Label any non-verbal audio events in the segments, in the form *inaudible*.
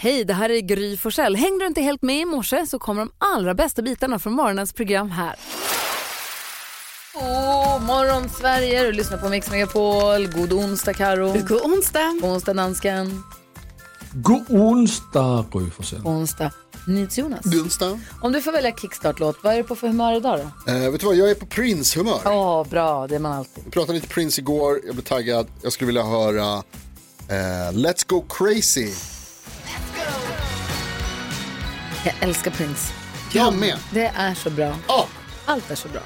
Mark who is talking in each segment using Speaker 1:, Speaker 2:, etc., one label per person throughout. Speaker 1: Hej, det här är Gry Forssell. Hängde du inte helt med i morse så kommer de allra bästa bitarna från morgonens program här. God morgon Sverige, du lyssnar på Mix Megapol. God onsdag Karo.
Speaker 2: God onsdag.
Speaker 1: God onsdag dansken.
Speaker 3: God onsdag, Gry Forssell.
Speaker 1: God onsdag NyhetsJonas.
Speaker 4: Dunsta.
Speaker 1: Om du får välja kickstart-låt, vad är du på för humör idag då?
Speaker 4: Eh, vet du vad, jag är på Prince-humör.
Speaker 1: Åh, bra, det är man alltid.
Speaker 4: Vi pratade lite Prince igår, jag blev taggad. Jag skulle vilja höra eh, Let's Go Crazy.
Speaker 1: Jag älskar Prince.
Speaker 4: Jag med.
Speaker 1: Det är så bra.
Speaker 4: Ja,
Speaker 1: Allt är så bra.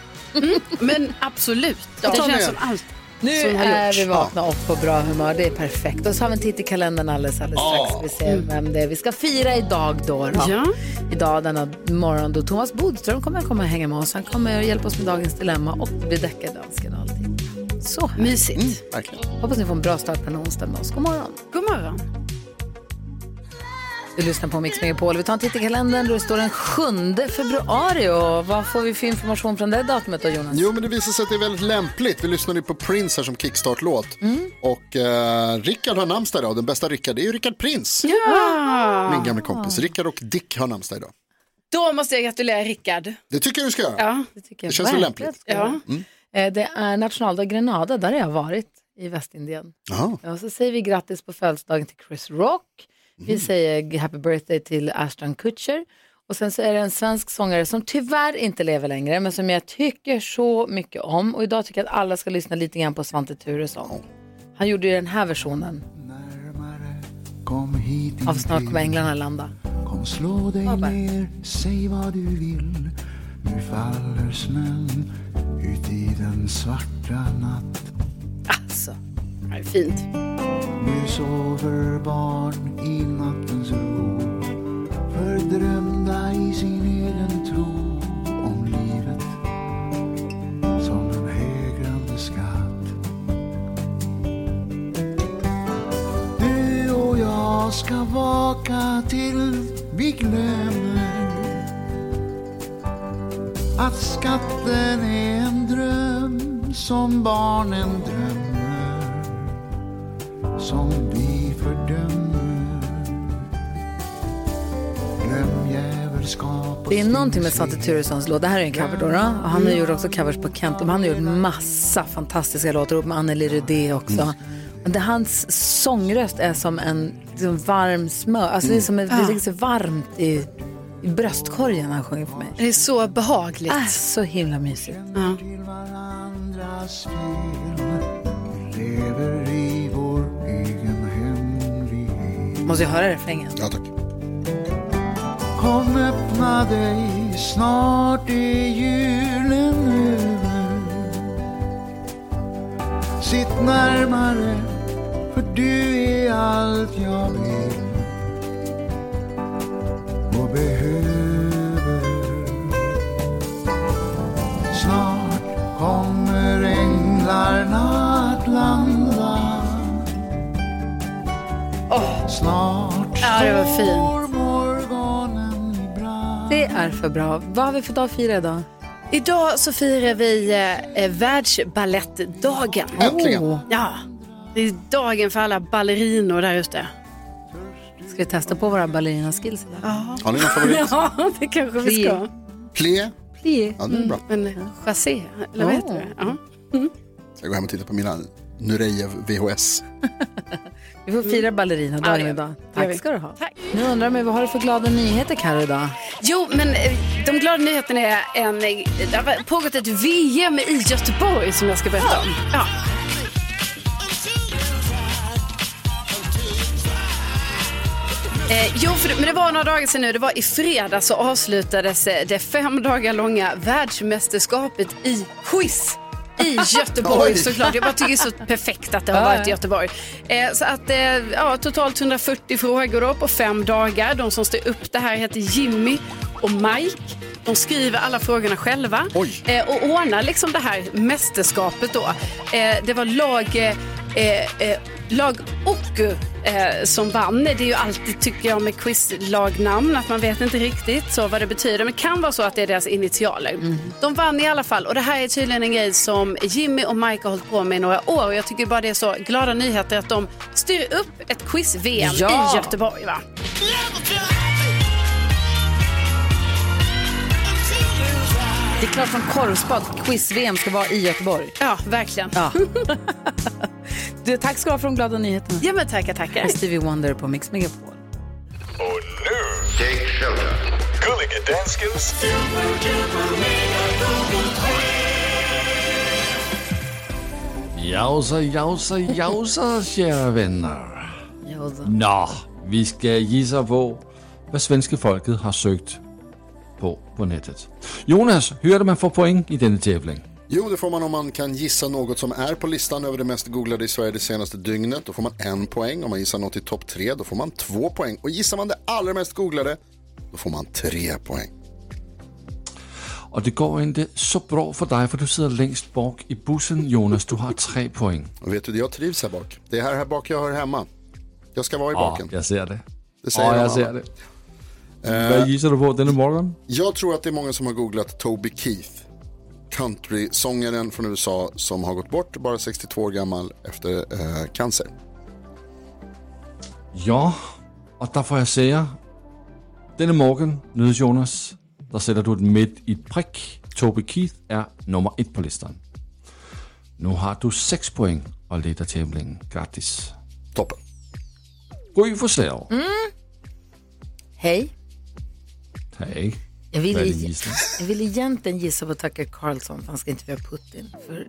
Speaker 2: Men absolut, det
Speaker 4: Ta
Speaker 2: känns
Speaker 4: med.
Speaker 2: som allt.
Speaker 1: Nu
Speaker 2: Som har
Speaker 1: är
Speaker 2: gjorts.
Speaker 1: vi vakna och på bra humör, det är perfekt. Och så har vi en titt i kalendern alldeles, alldeles strax. Vi ser vem det är vi ska fira idag då. då.
Speaker 2: Ja.
Speaker 1: Idag denna morgon då Thomas Bodström kommer att komma och hänga med oss. Han kommer att hjälpa oss med dagens dilemma och bli deckardansken och allting. Så här.
Speaker 2: Mysigt.
Speaker 4: verkligen.
Speaker 1: Hoppas ni får en bra start på en onsdag med oss. God morgon.
Speaker 2: God morgon.
Speaker 1: Du lyssnar på Mix Megapol. Vi tar en titt i kalendern då det står den 7 februari. Och vad får vi för information från det datumet då Jonas?
Speaker 4: Jo, men det visar sig att det är väldigt lämpligt. Vi lyssnade ju på Prince här som kickstart-låt. Och eh, Rickard har namnsdag idag. Den bästa Rickard är ju Rickard Prince. Min gamla kompis. Rickard och Dick har namnsdag idag.
Speaker 2: Då måste jag gratulera Rickard.
Speaker 4: Det tycker jag du ska göra.
Speaker 2: Ja.
Speaker 1: Det, tycker jag
Speaker 4: Det känns väl
Speaker 1: verkligen
Speaker 4: lämpligt.
Speaker 1: ska vara.
Speaker 2: Ja.
Speaker 1: Eh, Det är nationaldag Grenada, där har jag varit i Västindien.
Speaker 4: Jaha.
Speaker 1: Och så säger vi grattis på födelsedagen till Chris Rock. Vi säger happy birthday till Ashton Kutcher. Och sen så är det en svensk sångare som tyvärr inte lever längre, men som jag tycker så mycket om. Och idag tycker jag att alla ska lyssna lite grann på Svante Thuresson. Han gjorde ju den här versionen
Speaker 5: Kom hit
Speaker 1: av Snart kommer änglarna landa.
Speaker 5: Kom slå dig
Speaker 1: Robert.
Speaker 5: ner, säg vad du vill. Nu faller snön ut i den svarta natt.
Speaker 1: Alltså,
Speaker 2: Det är fint.
Speaker 5: Nu sover barn i nattens ro. Fördrömda i sin egen tro om livet som en hägrande skatt. Du och jag ska vaka till vi glömmer att skatten är en dröm som barnen drömmer som vi fördömer. Glöm djävulskap och
Speaker 1: det är någonting med Svante Turessons låt. Det här är en cover då. då. Och han har gjort också covers på Kent. Men han har gjort massa fantastiska låtar ihop med Anneli Rudé också. Men det, hans sångröst är som en som varm smör. Alltså det är som en, det ligger så varmt i, i bröstkorgen när han sjunger för mig.
Speaker 2: Det är så behagligt.
Speaker 1: Äh, så himla mysigt.
Speaker 5: till varandras fel. Vi lever i vår egen hemlighet.
Speaker 1: Måste jag höra refrängen?
Speaker 4: Ja, tack.
Speaker 5: Kom öppna dig, snart är julen över. Sitt närmare, för du är allt jag vill och behöver. Snart kommer änglarna att landa. Snart
Speaker 2: Ja, det var fint.
Speaker 5: står morgonen i brand.
Speaker 1: Det är för bra. Vad har vi för dag att fira idag?
Speaker 2: Idag så firar vi eh, världsbalettdagen.
Speaker 4: Äntligen.
Speaker 2: Ja, det är dagen för alla ballerinor där ute.
Speaker 1: Ska vi testa på våra ballerinaskills idag?
Speaker 4: Har ni någon *laughs* favorit?
Speaker 2: Ja, det kanske vi ska.
Speaker 4: Plié?
Speaker 1: Plie.
Speaker 4: Ja, det är bra.
Speaker 2: Men eh, chassé, eller vad heter det? Ja.
Speaker 4: Jag går hem och tittar på mina Nureyev VHS.
Speaker 1: Vi får fira ballerinadagen
Speaker 2: Ja, det gör vi.
Speaker 1: idag.
Speaker 2: Det gör
Speaker 1: Tack
Speaker 2: vi.
Speaker 1: ska du ha.
Speaker 2: Tack.
Speaker 1: Nu undrar man ju, vad har du för glada nyheter Carro idag?
Speaker 2: Jo, men eh, de glada nyheterna är en... eh, Det har pågått ett VM i Göteborg som jag ska berätta om. Ja. Eh, jo, för, det- men det var några dagar sedan nu. Det var i fredags så avslutades eh, det fem dagar långa världsmästerskapet i quiz. I Göteborg
Speaker 4: Oj.
Speaker 2: såklart. Jag bara tycker det är så perfekt att det har
Speaker 1: Ja,
Speaker 2: varit
Speaker 1: ja.
Speaker 2: i Göteborg. Eh, så att, eh, ja, totalt 140 frågor då på fem dagar. De som styr upp det här heter Jimmy och Mike. De skriver alla frågorna själva
Speaker 4: Oj.
Speaker 2: eh, och ordnar liksom det här mästerskapet då. Eh, det var lag, eh, eh, lag Oku eh, som vann. Det är ju alltid, tycker jag, med quizlagnamn att man vet inte riktigt så vad det betyder. Men kan vara så att det är deras initialer.
Speaker 1: Mm.
Speaker 2: De vann i alla fall och det här är tydligen en grej som Jimmy och Mike har hållit på med i några år. Och jag tycker bara det är så glada nyheter att de styr upp ett quiz-VM
Speaker 1: Ja.
Speaker 2: i Göteborg. Va?
Speaker 1: Det är klart som korvspad quiz-VM ska vara i Göteborg.
Speaker 2: Ja, verkligen.
Speaker 1: Ja. *laughs* du, tack ska du ha för de glada nyheterna.
Speaker 2: Ja, men tackar, tackar.
Speaker 1: Stevie Wonder på Mix Megapol.
Speaker 6: Och nu... Take shelter. Gulliga danskens...
Speaker 3: Jausa, jausa, jausa, kära vänner.
Speaker 1: Jo då.
Speaker 3: Nå, vi ska gissa på vad svenska folket har sökt på på nätet. Jonas, hur är det man får poäng i denna tävling?
Speaker 4: Jo, det får man om man kan gissa något som är på listan över det mest googlade i Sverige det senaste dygnet. Då får man en poäng. Om man gissar något i topp tre, då får man två poäng. Och gissar man det allra mest googlade, då får man tre poäng.
Speaker 3: Och det går inte så bra för dig för du sitter längst bak i bussen Jonas. Du har tre poäng.
Speaker 4: Och vet du, jag trivs här bak. Det är här, här bak jag hör hemma. Jag ska vara i
Speaker 3: Ja,
Speaker 4: baken.
Speaker 3: jag ser det.
Speaker 4: Det säger
Speaker 3: Ja,
Speaker 4: de
Speaker 3: jag
Speaker 4: alla.
Speaker 3: ser det. Vad gissar du på denna morgon?
Speaker 4: Jag tror att det är många som har googlat Toby Keith. Country-sångaren från USA som har gått bort, bara 62 år gammal, efter eh, cancer.
Speaker 3: Ja, och där får jag säga. Denna morgon, nyhets Jonas, där sätter du ett mitt i ett prick. Toby Keith är nummer ett på listan. Nu har du sex poäng och leder tävlingen. Grattis!
Speaker 4: Toppen.
Speaker 3: Gry Forssell.
Speaker 1: Mm. Hej.
Speaker 3: Hej.
Speaker 1: Jag
Speaker 3: Vad är din
Speaker 1: ville,
Speaker 3: gissning?
Speaker 1: jag ville egentligen gissa på Tucker Carlson för han ska intervjua Putin för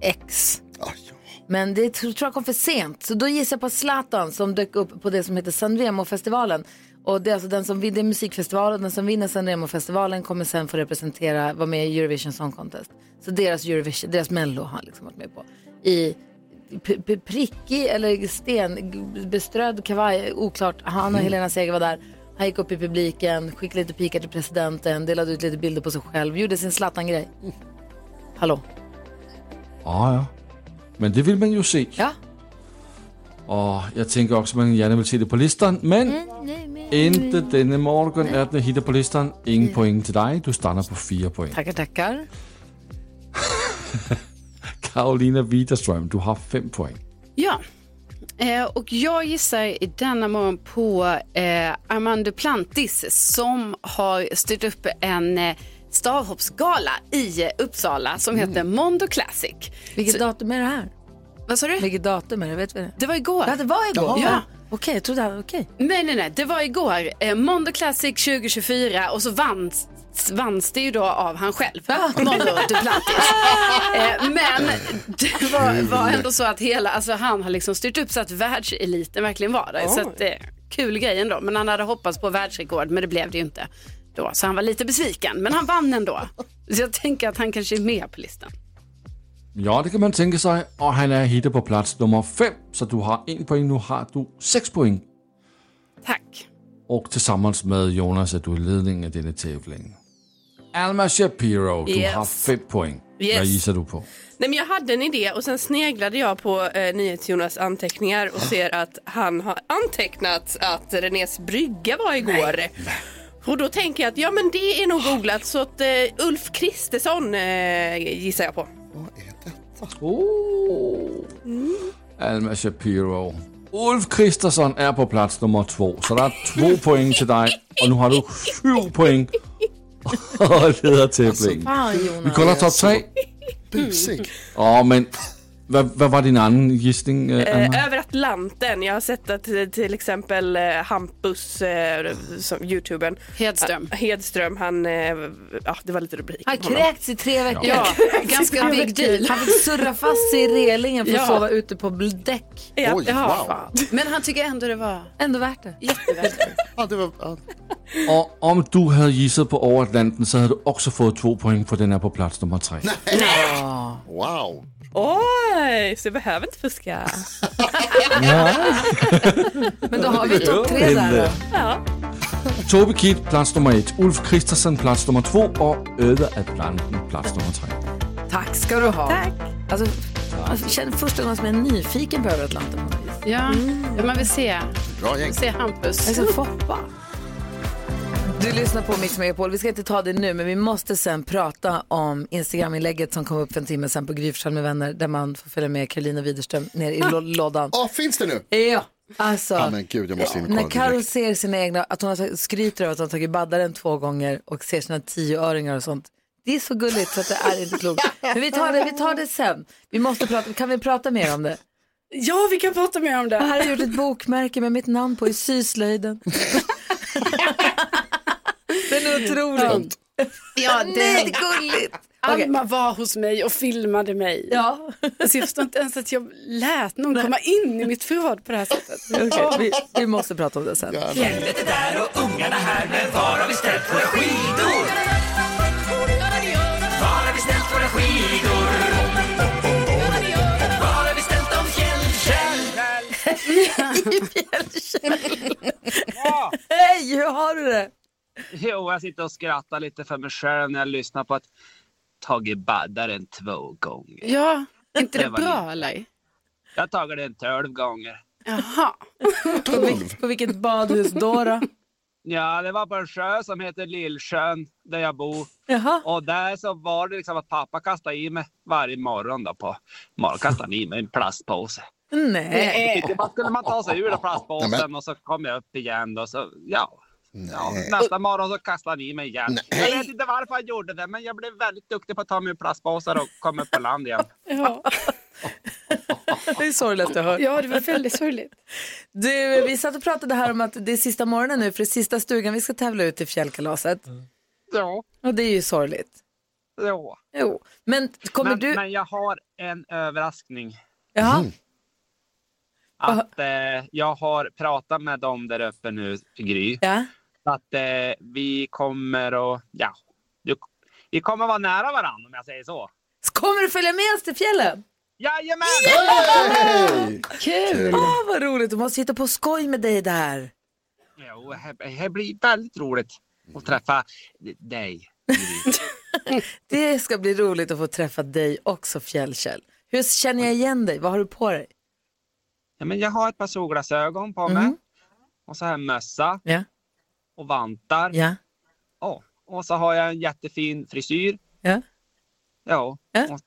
Speaker 1: X.
Speaker 4: Ah,
Speaker 7: Mm.
Speaker 4: ja.
Speaker 1: Men det tror tror jag kom för sent. Så då gissar jag på Zlatan som dök upp på det som heter Sanremo-festivalen. Och det är alltså den som vinner musikfestivalen och den som vinner Sanremo-festivalen kommer sen få representera, vara med i Eurovision Song Contest. Så deras Eurovision, deras Mello har han liksom varit med på. I p- p- prickig eller stenbeströdd kavaj, oklart. Han och Helena Seger var där. Han gick upp i publiken, skickade lite pikar till presidenten, delade ut lite bilder på sig själv, gjorde sin Zlatan-grej. Hallå?
Speaker 3: Ja, ja. Men det vill man ju se.
Speaker 1: Ja?
Speaker 3: Och jag tänker också att man gärna vill se det på listan. Men
Speaker 1: Mm, Nej, men...
Speaker 3: inte denna morgon är den hittar på listan. Ingen poäng till dig. Du stannar på fyra poäng.
Speaker 1: Tackar, tackar.
Speaker 3: Karolina Widerström, du har fem poäng.
Speaker 2: Ja. Eh, och jag gissar i denna morgon på eh, Armando Plantis som har styrt upp en eh, stavhoppsgala i eh, Uppsala som heter
Speaker 1: Mm.
Speaker 2: Mondo Classic.
Speaker 1: Vilket datum är det här?
Speaker 2: Vad sa du?
Speaker 1: Vilket datum är det? Vet vi det?
Speaker 2: Det var igår.
Speaker 1: Ja, det var igår.
Speaker 2: Jaha. Ja.
Speaker 1: Okej, jag trodde han... Okej.
Speaker 2: Nej, nej, nej. Det var igår. Eh, Mondo Classic 2024 och så vanns, vanns det ju då av han själv. Mondo *laughs* Duplantis. eh, men det var, var ändå så att hela, alltså han har liksom styrt upp så att världseliten verkligen var där. Så att, eh, kul grej ändå. Men han hade hoppats på världsrekord, men det blev det ju inte. Då, så han var lite besviken, men han vann ändå. Så jag tänker att han kanske är med på listan.
Speaker 3: Ja, det kan man tänka sig. Och han är hittet på plats nummer fem. Så du har en poäng. Nu har du sex poäng.
Speaker 2: Tack.
Speaker 3: Och tillsammans med Jonas är du i ledning av denna tävling. Alma Shapiro, du
Speaker 7: Yes.
Speaker 3: har fem poäng.
Speaker 7: Yes.
Speaker 3: Vad gissar du på?
Speaker 7: Nej, men jag hade en idé och sen sneglade jag på eh, NyhetsJonas anteckningar och ser att han har antecknat att Renés brygga var igår. Och då tänker jag att ja, men det är nog googlat så att eh, Ulf Kristersson eh, gissar jag på.
Speaker 4: Vad är det?
Speaker 3: Oh. Alma Shapiro. Ulf Kristersson är på plats nummer två. Så det är två poäng till dig. Och nu har du sju *laughs* poäng. Och leder tävlingen.
Speaker 1: Fan,
Speaker 3: Vi
Speaker 1: Jonas.
Speaker 3: kollar topp tre.
Speaker 4: Busig.
Speaker 3: Ja, men vad, vad var din annan gissning, eh, Alma?
Speaker 4: Mm.
Speaker 7: Eh, över Atlanten. Jag har sett att eh, till exempel eh, Hampus, eh, som youtubern
Speaker 2: Hedström.
Speaker 7: Ah, Hedström, han, eh, ja det var lite rubrik.
Speaker 1: Han
Speaker 7: på honom.
Speaker 1: kräkts i tre veckor.
Speaker 2: Ja, *laughs* ganska
Speaker 1: Han
Speaker 2: big
Speaker 1: fick,
Speaker 2: deal.
Speaker 1: han fick surra fast sig i relingen för att
Speaker 2: Ja.
Speaker 1: sova ute på bl- däck.
Speaker 7: Ja,
Speaker 4: Oj,
Speaker 7: ja,
Speaker 4: wow.
Speaker 7: fan.
Speaker 2: Men han tycker ändå det var
Speaker 1: Ändå värt det.
Speaker 2: jättevärt.
Speaker 4: Ja, det var, ja.
Speaker 3: Och om du hade gissat på Over Atlanten så hade du också fått två poäng för den är på plats nummer tre.
Speaker 4: Wow.
Speaker 7: Oj, så jag behöver inte fuska.
Speaker 1: Men då har vi topp tre där. då.
Speaker 3: Toby Kitt, plats nummer ett. Ulf Kristersson, plats nummer två. Och Öde Atlanten, plats nummer tre.
Speaker 1: Tack ska du ha.
Speaker 7: Tack.
Speaker 1: Alltså, jag känner första gången som jag är nyfiken på Över Atlanten. på något vis.
Speaker 2: Ja, ja man vill se,
Speaker 4: Bra gäng.
Speaker 2: se Hampus.
Speaker 1: Jag är som Foppa. Du lyssnar på Mix Megapol. Vi ska inte ta det nu, men vi måste sen prata om Instagram-inlägget som kom upp för en timme sen på Gryfsjön med vänner där man får följa med Karolina Widerström ner i lå- lådan.
Speaker 4: Ja, finns det nu?
Speaker 1: Ja, Alltså,
Speaker 4: Ja, men gud, jag måste in och
Speaker 1: när
Speaker 4: kolla
Speaker 1: Karo
Speaker 4: direkt.
Speaker 1: ser sina egna, att hon har tagit- skryter över att hon har tagit baddaren två gånger och ser sina tioöringar och sånt. Det är så gulligt så att det är inte klokt. Men vi tar det, vi tar det sen. Vi måste prata, kan vi prata mer om det?
Speaker 2: Ja, vi kan prata mer om
Speaker 1: Jag
Speaker 2: det.
Speaker 1: har gjort ett bokmärke med mitt namn på i syslöjden. Den är otrolig.
Speaker 2: Ja,
Speaker 1: Nej, det är gulligt. Okej.
Speaker 2: Alma var hos mig och filmade mig.
Speaker 1: Ja,
Speaker 2: Alltså, jag förstår inte ens att jag lät någon komma in i mitt förråd på det här *laughs* sättet.
Speaker 1: okej, vi, vi måste prata om det sen. *laughs* Hej, hur har du det?
Speaker 8: Jo, jag sitter *laughs* och skrattar lite för mig själv när jag lyssnar på att Tage baddaren två gånger.
Speaker 2: Ja, inte det
Speaker 8: Det var
Speaker 2: bra eller?
Speaker 8: Jag har tagit den tolv gånger.
Speaker 2: Jaha.
Speaker 1: På, vil- på vilket badhus då? då?
Speaker 8: Ja, det var på en sjö som heter Lillsjön där jag bor.
Speaker 1: Jaha.
Speaker 8: Och där så var det liksom att pappa kastade i mig varje morgon då på morgonen kastade han i mig en plastpåse.
Speaker 1: Nej.
Speaker 8: *laughs* Tyckte man skulle man ta sig ur den
Speaker 4: Nej,
Speaker 8: plastpåsen
Speaker 4: men-
Speaker 8: och så kom jag upp igen då så ja. Ja, nästa morgon så kastade han i mig igen. Jag vet inte varför han gjorde det, men jag blev väldigt duktig på att ta mig ur plastpåsar och kom upp på land igen.
Speaker 2: Ja.
Speaker 1: Det är sorgligt att höra.
Speaker 2: ja, det var väldigt sorgligt.
Speaker 1: Du, vi satt och pratade här om att det är sista morgonen nu för det är sista stugan vi ska tävla ut i fjällkalaset.
Speaker 8: Ja,
Speaker 1: Och det är ju sorgligt.
Speaker 8: ja.
Speaker 1: Jo, men kommer
Speaker 8: Men,
Speaker 1: du...
Speaker 8: men Mm. jag har en överraskning.
Speaker 1: Ja,
Speaker 8: Att eh, jag har pratat med dem där uppe nu, Gry.
Speaker 1: ja.
Speaker 8: Att eh, vi kommer att, ja, du, vi kommer vara nära varandra om jag säger så.
Speaker 1: Så Kommer du följa med oss till fjällen?
Speaker 8: Jajamän!
Speaker 4: Hej!
Speaker 1: Kul! Åh, vad roligt. Du måste hitta på skoj med dig där.
Speaker 8: Jo, det här blir väldigt roligt att träffa dig.
Speaker 1: Det ska bli roligt att få träffa dig också, Fjällkäll. Hur känner jag igen dig? Vad har du på dig?
Speaker 8: Ja, men jag har ett par solglasögon på
Speaker 1: Mm.
Speaker 8: mig. Och så här mössa
Speaker 1: Ja,
Speaker 8: och vantar.
Speaker 1: ja,
Speaker 8: Ja, och så har jag en jättefin frisyr.
Speaker 1: ja.
Speaker 8: Ja,
Speaker 1: Ja.
Speaker 8: och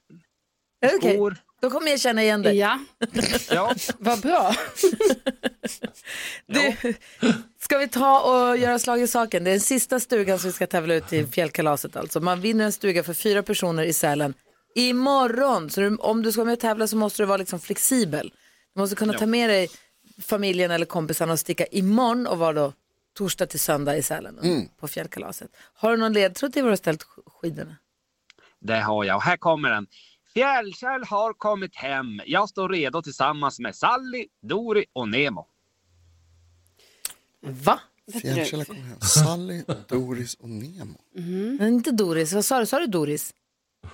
Speaker 1: Okej,
Speaker 8: skor.
Speaker 1: då kommer jag känna igen dig.
Speaker 2: Ja,
Speaker 8: Ja.
Speaker 2: vad bra.
Speaker 1: Du, *laughs* ska vi ta och göra slag i saken? Det är den sista stugan som vi ska tävla ut till fjällkalaset alltså. Man vinner en stuga för fyra personer i Sälen imorgon. Så du, om du ska vara med och tävla så måste du vara liksom flexibel. Du måste kunna ta med dig familjen eller kompisarna och sticka imorgon och vara då torsdag till söndag i Sälen på fjällkalaset. Har du någon ledtråd till var du har ställt sk- skidorna?
Speaker 8: Det har jag och här kommer den. Fjällkäll har kommit hem. Jag står redo tillsammans med Sally, Dori och Nemo.
Speaker 1: Va?
Speaker 4: Fjällkälla kom hem. Sally, Doris och Nemo.
Speaker 1: Mm. Men inte Doris, vad sa du? Sa du Doris?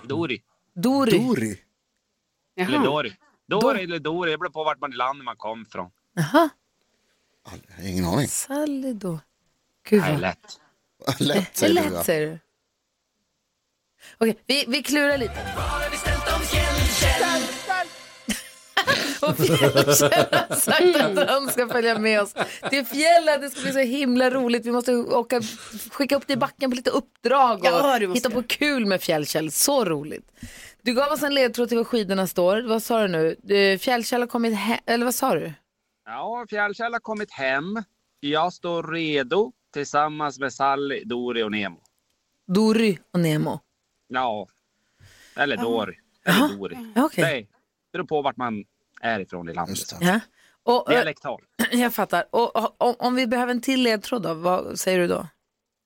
Speaker 8: Dori.
Speaker 1: Dori?
Speaker 4: Dori.
Speaker 8: Eller Dori. Dori eller Dori. Det beror på vart man i landet man kom ifrån.
Speaker 1: Jaha,
Speaker 4: Jag har Ingen aning.
Speaker 1: Sally då. Gud
Speaker 8: Det är
Speaker 1: vad
Speaker 8: lätt.
Speaker 4: Lätt
Speaker 1: Det är
Speaker 4: säger du.
Speaker 1: lätt
Speaker 4: va?
Speaker 1: säger du. Okej, vi, vi klurar lite. *laughs* Och Fjällkäll har sagt att han ska följa med oss till fjällen. Det ska bli så himla roligt. Vi måste åka, skicka upp dig i backen på lite uppdrag och
Speaker 2: Ja, det måste
Speaker 1: hitta
Speaker 2: vi.
Speaker 1: på kul med Fjällkäll. Så roligt. Du gav oss en ledtråd till var skidorna står. Vad sa du nu? Du, Fjällkäll har kommit hem, eller vad sa du?
Speaker 8: Ja, Fjällkäll har kommit hem. Jag står redo tillsammans med Sally, Dori och Nemo.
Speaker 1: Dory och Nemo.
Speaker 8: Ja. Eller Dori. Eller Dori.
Speaker 1: Ja, Okej.
Speaker 8: Det beror på vart man är ifrån i landet.
Speaker 1: Ja. Och, eh,
Speaker 8: Dialektal.
Speaker 1: jag fattar. Och, och, om, om vi behöver en till ledtråd då, vad säger du då?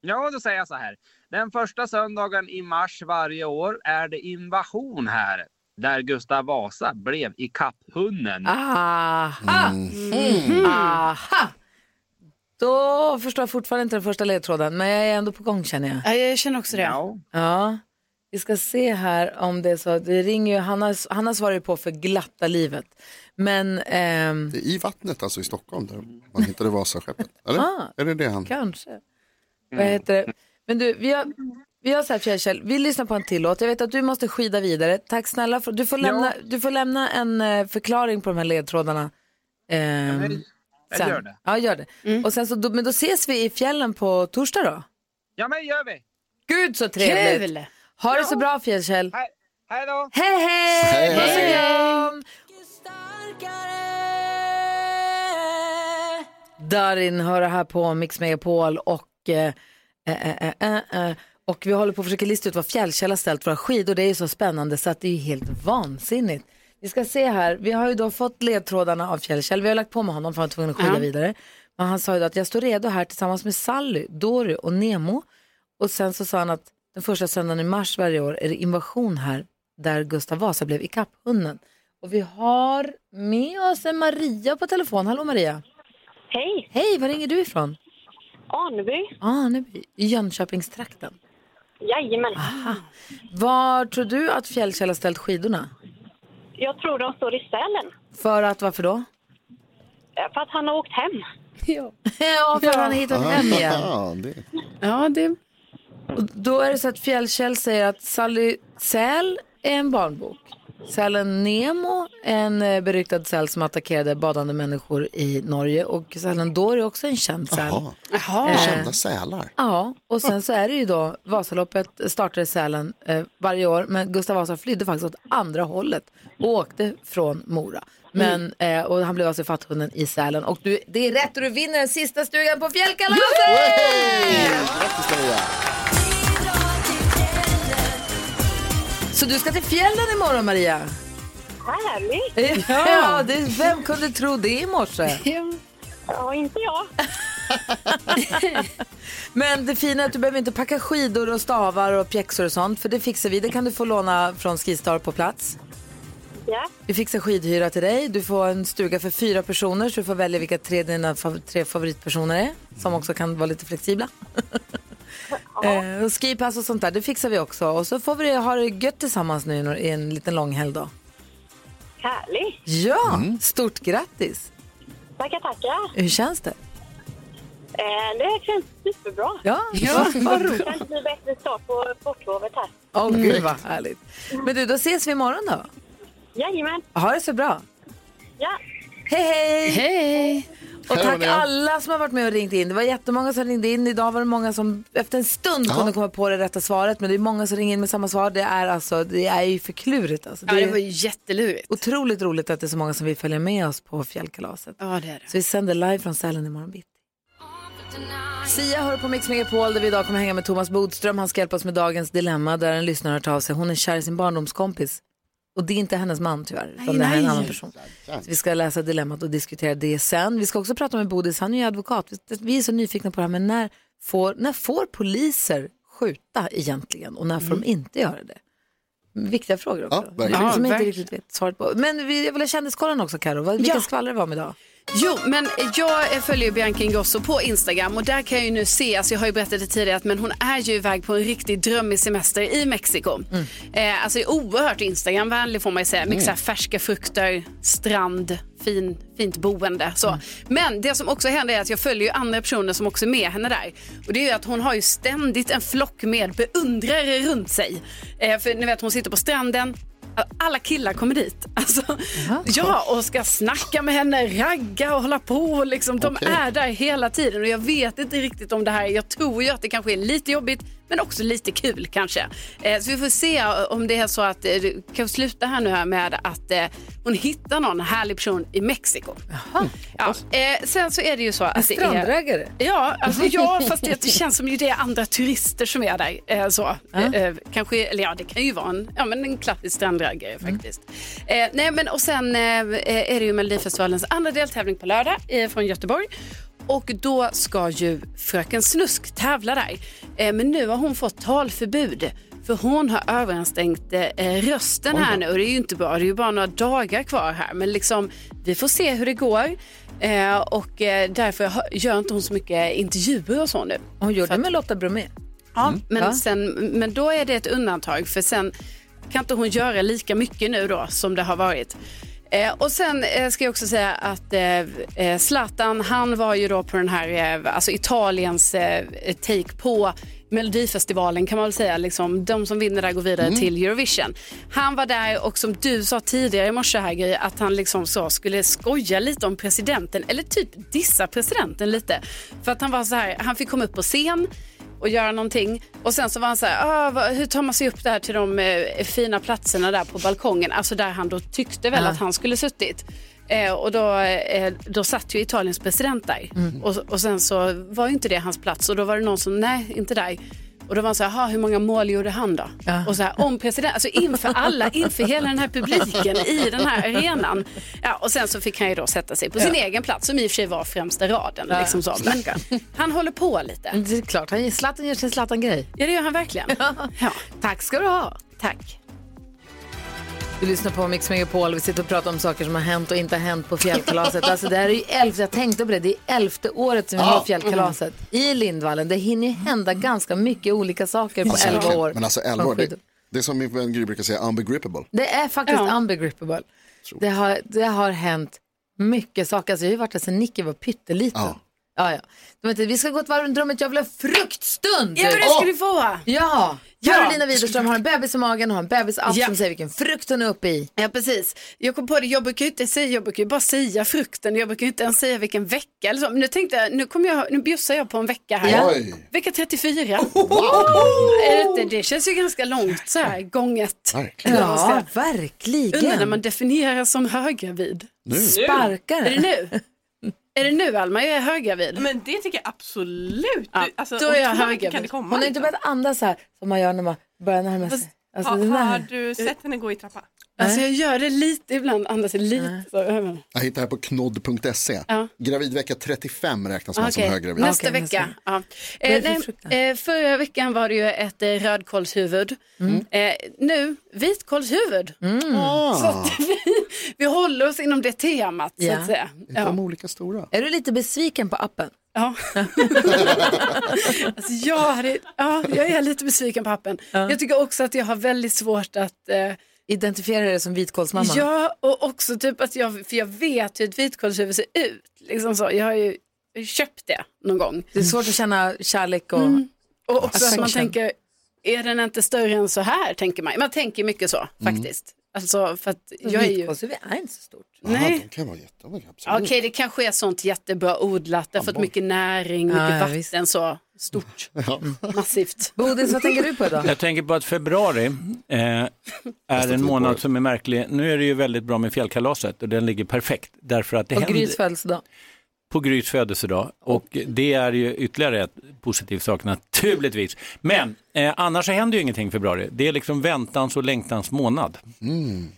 Speaker 8: Ja, då säger jag så här. Den första söndagen i mars varje år är det invasion här. Där Gustav Vasa blev ikapphunnen.
Speaker 1: Ah, Aha!
Speaker 4: Mm.
Speaker 1: Mm. Aha! Då förstår jag fortfarande inte den första ledtråden, men jag är ändå på gång känner jag.
Speaker 2: Ja, jag känner också det.
Speaker 8: Ja.
Speaker 1: Ja, vi ska se här om det är så. Det ringer ju, Hanna, Hanna svarar ju på för glatta livet. Men ehm,
Speaker 4: Det är I vattnet alltså i Stockholm där man hittade Vasaskeppet. Eller?
Speaker 1: Ah.
Speaker 4: Är det det han?
Speaker 1: kanske. Vad heter det? Men du, vi har, vi har så här Fjällkäll, vi lyssnar på en till låt. Jag vet att du måste skida vidare. Tack snälla. För, du, får lämna, du får lämna en eh, förklaring på de här ledtrådarna. ehm,
Speaker 8: Jag
Speaker 1: sen.
Speaker 8: gör det.
Speaker 1: Ja, gör det. Och sen så, då, men då ses vi i fjällen på torsdag då.
Speaker 8: Ja, men gör vi.
Speaker 1: Gud så trevligt!
Speaker 2: Kul!
Speaker 1: Ha det så bra Fjällkäll.
Speaker 8: Hej, hej då.
Speaker 1: Hej hej!
Speaker 4: Hej,
Speaker 1: Puss och
Speaker 4: hej.
Speaker 1: kram!
Speaker 9: starkare
Speaker 1: Darin hör det här på Mix Megapol och, eh, eh, eh, eh, eh, och vi håller på att försöka lista ut var Fjällkälla ställt våra skidor. Det är ju så spännande så att det är ju helt vansinnigt. Vi ska se här, vi har ju då fått ledtrådarna av Fjällkäll. Vi har lagt på med honom för han var tvungen att skilja
Speaker 2: Ja.
Speaker 1: vidare. Men han sa ju då att jag står redo här tillsammans med Sally, Dory och Nemo. Och sen så sa han att den första söndagen i mars varje år är det invasion här där Gustav Vasa blev ikapphunden. Och vi har med oss en Maria på telefon. Hallå Maria!
Speaker 9: Hej,
Speaker 1: Hej, var ringer du ifrån?
Speaker 9: Aneby.
Speaker 1: Aneby, i Jönköpingstrakten.
Speaker 9: Jajamän.
Speaker 1: Var tror du att Fjällkäll har ställt skidorna?
Speaker 9: Jag tror de står i Sälen.
Speaker 1: För att, varför då?
Speaker 9: Eh, För att han har åkt hem.
Speaker 1: *laughs* ja, för att han har hittat hem igen.
Speaker 4: Ja, det,
Speaker 2: Ja, det...
Speaker 1: Och då är det så att Fjällkäll säger att Sally Säl är en barnbok. Sälen Nemo är en eh, beryktad säl som attackerade badande människor i Norge. Och sälen Dory är också en känd säl.
Speaker 4: Jaha,
Speaker 2: Jaha.
Speaker 1: Eh,
Speaker 4: kända sälar.
Speaker 1: Ja, och sen så är det ju då Vasaloppet startar i Sälen eh, varje år, men Gustav Vasa flydde faktiskt åt andra hållet och åkte från Mora. Men, eh, och han blev alltså fatthunden i Sälen. Och du, det är rätt och du vinner den sista stugan på Fjällkalaset!
Speaker 4: Grattis Maria!
Speaker 1: Så du ska till fjällen imorgon Maria?
Speaker 9: Härligt!
Speaker 1: Ja, det, vem kunde tro det i morse?
Speaker 9: Ja, inte jag.
Speaker 1: *laughs* Men det fina är att du behöver inte packa skidor och stavar och pjäxor och sånt, för det fixar vi. Det kan du få låna från Skistar på plats.
Speaker 9: Ja,
Speaker 1: Vi fixar skidhyra till dig. Du får en stuga för fyra personer så du får välja vilka tre dina fav tre favoritpersoner är. Som också kan vara lite flexibla. eh, och skipass och sånt där, det fixar vi också. Och så får vi ha det gött tillsammans nu i nor- i en liten lång helg då.
Speaker 9: härligt.
Speaker 1: Ja, stort grattis!
Speaker 9: Tackar, tackar.
Speaker 1: Hur känns det?
Speaker 9: Eh, Det känns superbra.
Speaker 1: Ja, ja. vad roligt.
Speaker 9: Det kan inte bli bättre start på sportlovet här.
Speaker 1: Åh gud vad härligt. Men du, då ses vi imorgon då.
Speaker 9: Jajamän.
Speaker 1: Ha det så bra.
Speaker 9: Ja,
Speaker 1: Hej, hej!
Speaker 2: Hej!
Speaker 1: Och
Speaker 4: Hej,
Speaker 1: tack
Speaker 4: Maria.
Speaker 1: alla som har varit med och ringt in. Det var jättemånga som ringde in. Idag var det många som efter en stund kunde komma på det rätta svaret. Men det är många som ringer in med samma svar. Det är, alltså, det är ju för klurigt. Alltså.
Speaker 2: Ja,
Speaker 1: det
Speaker 2: det
Speaker 1: är
Speaker 2: var ju jättelurigt.
Speaker 1: otroligt roligt att det är så många som vill följa med oss på fjällkalaset.
Speaker 2: Ja, det är det.
Speaker 1: Så vi sänder live från Sälen imorgon bitti. Sia hör på Mix Megapol där vi idag kommer hänga med Thomas Bodström. Han ska hjälpa oss med dagens dilemma där en lyssnare har tagit av sig. Hon är kär i sin barndomskompis. Och det är inte hennes man tyvärr, utan det här är en annan person. Så vi ska läsa dilemmat och diskutera det sen. Vi ska också prata med Bodis, han är ju advokat. Vi- Vi är så nyfikna på det här, men när får, när får poliser skjuta egentligen och när får de inte göra det? Viktiga frågor
Speaker 4: Mm. Ja,
Speaker 1: också,
Speaker 4: verkligen.
Speaker 1: som
Speaker 2: Ja,
Speaker 1: inte
Speaker 2: verkligen.
Speaker 1: riktigt vet svaret på. Men vi, jag vill ha kändiskollen också, Karo. Vad- Vilka
Speaker 2: Ja.
Speaker 1: skvaller det var om idag?
Speaker 2: Jo, men jag eh, följer ju Bianca Ingrosso på Instagram och där kan jag ju nu se, alltså jag har ju berättat det tidigare, att men hon är ju iväg på en riktig drömmig semester i Mexiko. Eh, alltså är oerhört Instagramvänlig får man ju säga. Mycket så här färska frukter, strand, fin, fint boende. Så. Men det som också händer är att jag följer ju andra personer som också är med henne där. Och det är ju att hon har ju ständigt en flock med beundrare runt sig. Eh, för ni vet, hon sitter på stranden, alla killar kommer dit. *laughs* Alltså, ja, och ska snacka med henne, ragga och hålla på. Liksom. De
Speaker 4: Okej.
Speaker 2: är där hela tiden. Och jag vet inte riktigt om det här. Jag tror ju att det kanske är lite jobbigt, men också lite kul kanske. Eh, så vi får se om det är så att... Eh, du kan vi sluta här nu här med att eh, hon hittar någon härlig person i Mexiko. Ja, eh, sen så är det ju så att det är...
Speaker 1: Strandägare?
Speaker 2: Ja, alltså, ja fast det, det känns som ju det är andra turister som är där. Eh, så. Eh, eh, kanske, eller ja, det kan ju vara en, ja, men en klassisk strandraggare faktiskt. Eh, nej, men, och sen eh, eh, är det ju Melodifestivalens andra deltävling på lördag eh, från Göteborg. Och då ska ju Fröken Snusk tävla där. Eh, men nu har hon fått talförbud. För hon har överansträngt eh, rösten här nu och det är ju inte bra. Det är ju bara några dagar kvar här. Men liksom, vi får se hur det går. Eh, och eh, därför hö- gör inte hon så mycket intervjuer och så nu.
Speaker 1: Hon gjorde det med Lotta Bromé.
Speaker 2: Ja, men,
Speaker 1: Ja.
Speaker 2: Sen, men då är det ett undantag för sen kan inte hon göra lika mycket nu då som det har varit. Eh, och sen eh, ska jag också säga att eh, eh, Zlatan, han var ju då på den här, eh, alltså Italiens eh, take på Melodifestivalen kan man väl säga, liksom, de som vinner där går vidare till Eurovision. Han var där och som du sa tidigare i morse här Gry, att han liksom så skulle skoja lite om presidenten eller typ dissa presidenten lite. För att han var så här, han fick komma upp på scen och göra någonting. Och sen så var han så här, ah, vad, hur tar man sig upp där till de eh, fina platserna där på balkongen? Alltså där han då tyckte väl att han skulle suttit. Eh, och då, eh, då satt ju Italiens president där. Och, och sen så var ju inte det hans plats och då var det någon som, nej, inte där. Och då var han så här, "Jaha, hur många mål gjorde han då? Och så här, om president, alltså inför alla, inför hela den här publiken i den här arenan. Ja, och sen så fick han ju då sätta sig på sin egen plats som i och för sig var främsta raden. Liksom så. Men han håller på lite.
Speaker 1: Det är klart, han, Zlatan gör sin Zlatan-grej.
Speaker 2: Ja, det gör han verkligen. *laughs* Ja,
Speaker 1: Tack ska du ha.
Speaker 2: tack.
Speaker 1: Du lyssnar på Mix Megapol. Vi sitter och pratar om saker som har hänt och inte har hänt på fjällkalaset. Alltså det här är ju elfte, jag tänkte på det, det är elfte året som vi har fjällkalaset i Lindvallen. Det hinner ju hända ganska mycket olika saker på elva år.
Speaker 4: Men alltså 11
Speaker 1: från
Speaker 4: år, det,
Speaker 1: skidor.
Speaker 4: det är som min vän Gry brukar säga, unbegrippable.
Speaker 1: Det är faktiskt
Speaker 2: Ja.
Speaker 1: unbegrippable. Det har, det har hänt mycket saker. Alltså, jag har ju varit där sedan Nicky var pytteliten. Ja.
Speaker 4: Ja.
Speaker 1: Ja, Men inte- Vi ska gå ett varv runt rummet. Jag vill ha fruktstund!
Speaker 2: Ja, men det ska du få.
Speaker 1: Ja,
Speaker 2: Ja.
Speaker 1: Carolina Widerström har en bebis i magen och har en bebisapp
Speaker 2: Ja.
Speaker 1: som säger vilken frukt hon är uppe i.
Speaker 2: Ja precis. Jag kom på det, jag brukar ju inte säga, jag brukar ju bara säga frukten, jag brukar ju inte ens säga vilken vecka eller så. Men nu tänkte jag, nu kommer jag, nu bjussar jag på en vecka här.
Speaker 1: Ja.
Speaker 4: Oj.
Speaker 2: Vecka 34. Är det, inte, det känns ju ganska långt så här, gånget.
Speaker 4: Verkligen.
Speaker 1: Ja,
Speaker 2: Undrar när man
Speaker 1: verkligen.
Speaker 2: definieras som högravid. Är det
Speaker 1: Sparkare.
Speaker 2: nu? Är det nu Alma, jag är högravid?
Speaker 7: Men det tycker jag absolut.
Speaker 2: Ja,
Speaker 7: Du, alltså,
Speaker 2: då är jag
Speaker 7: hur långt
Speaker 2: höger.
Speaker 7: kan det komma?
Speaker 1: Hon har inte
Speaker 7: liksom?
Speaker 1: börjat andas så här som man gör när man börjar närma sig. Alltså, den
Speaker 7: ha, har
Speaker 1: där.
Speaker 7: du sett henne gå i trappa?
Speaker 2: Alltså jag gör det lite ibland, andas jag lite. Så, över.
Speaker 4: Jag hittar här på knodd.se.
Speaker 2: Ja.
Speaker 4: Gravidvecka 35 räknas man som
Speaker 2: Okej,
Speaker 4: höggravid.
Speaker 2: Nästa
Speaker 1: Okej,
Speaker 2: vecka.
Speaker 1: nästa.
Speaker 2: Ja.
Speaker 1: är det
Speaker 2: Eh,
Speaker 1: för
Speaker 2: nej,
Speaker 1: fruktan?
Speaker 2: eh, förra veckan var det ju ett eh, rödkålshuvud.
Speaker 1: Mm.
Speaker 2: Eh, nu vitkålshuvud. Så
Speaker 4: Ah!
Speaker 2: att *laughs* vi, vi håller oss inom det temat
Speaker 1: Ja.
Speaker 2: så att säga.
Speaker 4: Inte
Speaker 2: Ja.
Speaker 4: de olika stora.
Speaker 1: Är du lite besviken på appen? *laughs*
Speaker 2: Ja. alltså, jag, hade, ja, jag är lite besviken på appen. Jag tycker också att jag har väldigt svårt att eh,
Speaker 1: Identifierar dig som vitkålsmamma?
Speaker 2: Ja, och också typ att jag, för jag vet hur ett vitkålshuvud ser ut. Liksom så. Jag har ju köpt det någon gång.
Speaker 1: Det är svårt att känna kärlek och...
Speaker 2: Mm, Och också att man
Speaker 1: Affection.
Speaker 2: tänker, är den inte större än så här, tänker man. Man tänker mycket så, faktiskt. Alltså, för att jag Mm. är ju...
Speaker 1: Vitkålshuvud är inte så stort.
Speaker 4: Ja,
Speaker 2: Nej.
Speaker 4: de kan vara jättehöga, absolut.
Speaker 2: Okej, det kanske är sånt jättebra odlat, det har fått mycket näring, mycket
Speaker 1: Ja, ja,
Speaker 2: vatten, så *laughs* stort, massivt.
Speaker 1: Bodis, vad tänker du på idag?
Speaker 10: Jag tänker på att februari eh, är en månad som är märklig. Nu är det ju väldigt bra med fjällkalaset och den ligger perfekt därför att det
Speaker 1: Och
Speaker 10: händer
Speaker 1: Grys födelsedag.
Speaker 10: på Grys födelsedag och det är ju ytterligare ett positiv sak naturligtvis. Men eh, annars så händer ju ingenting i februari. Det är liksom väntans och längtans månad.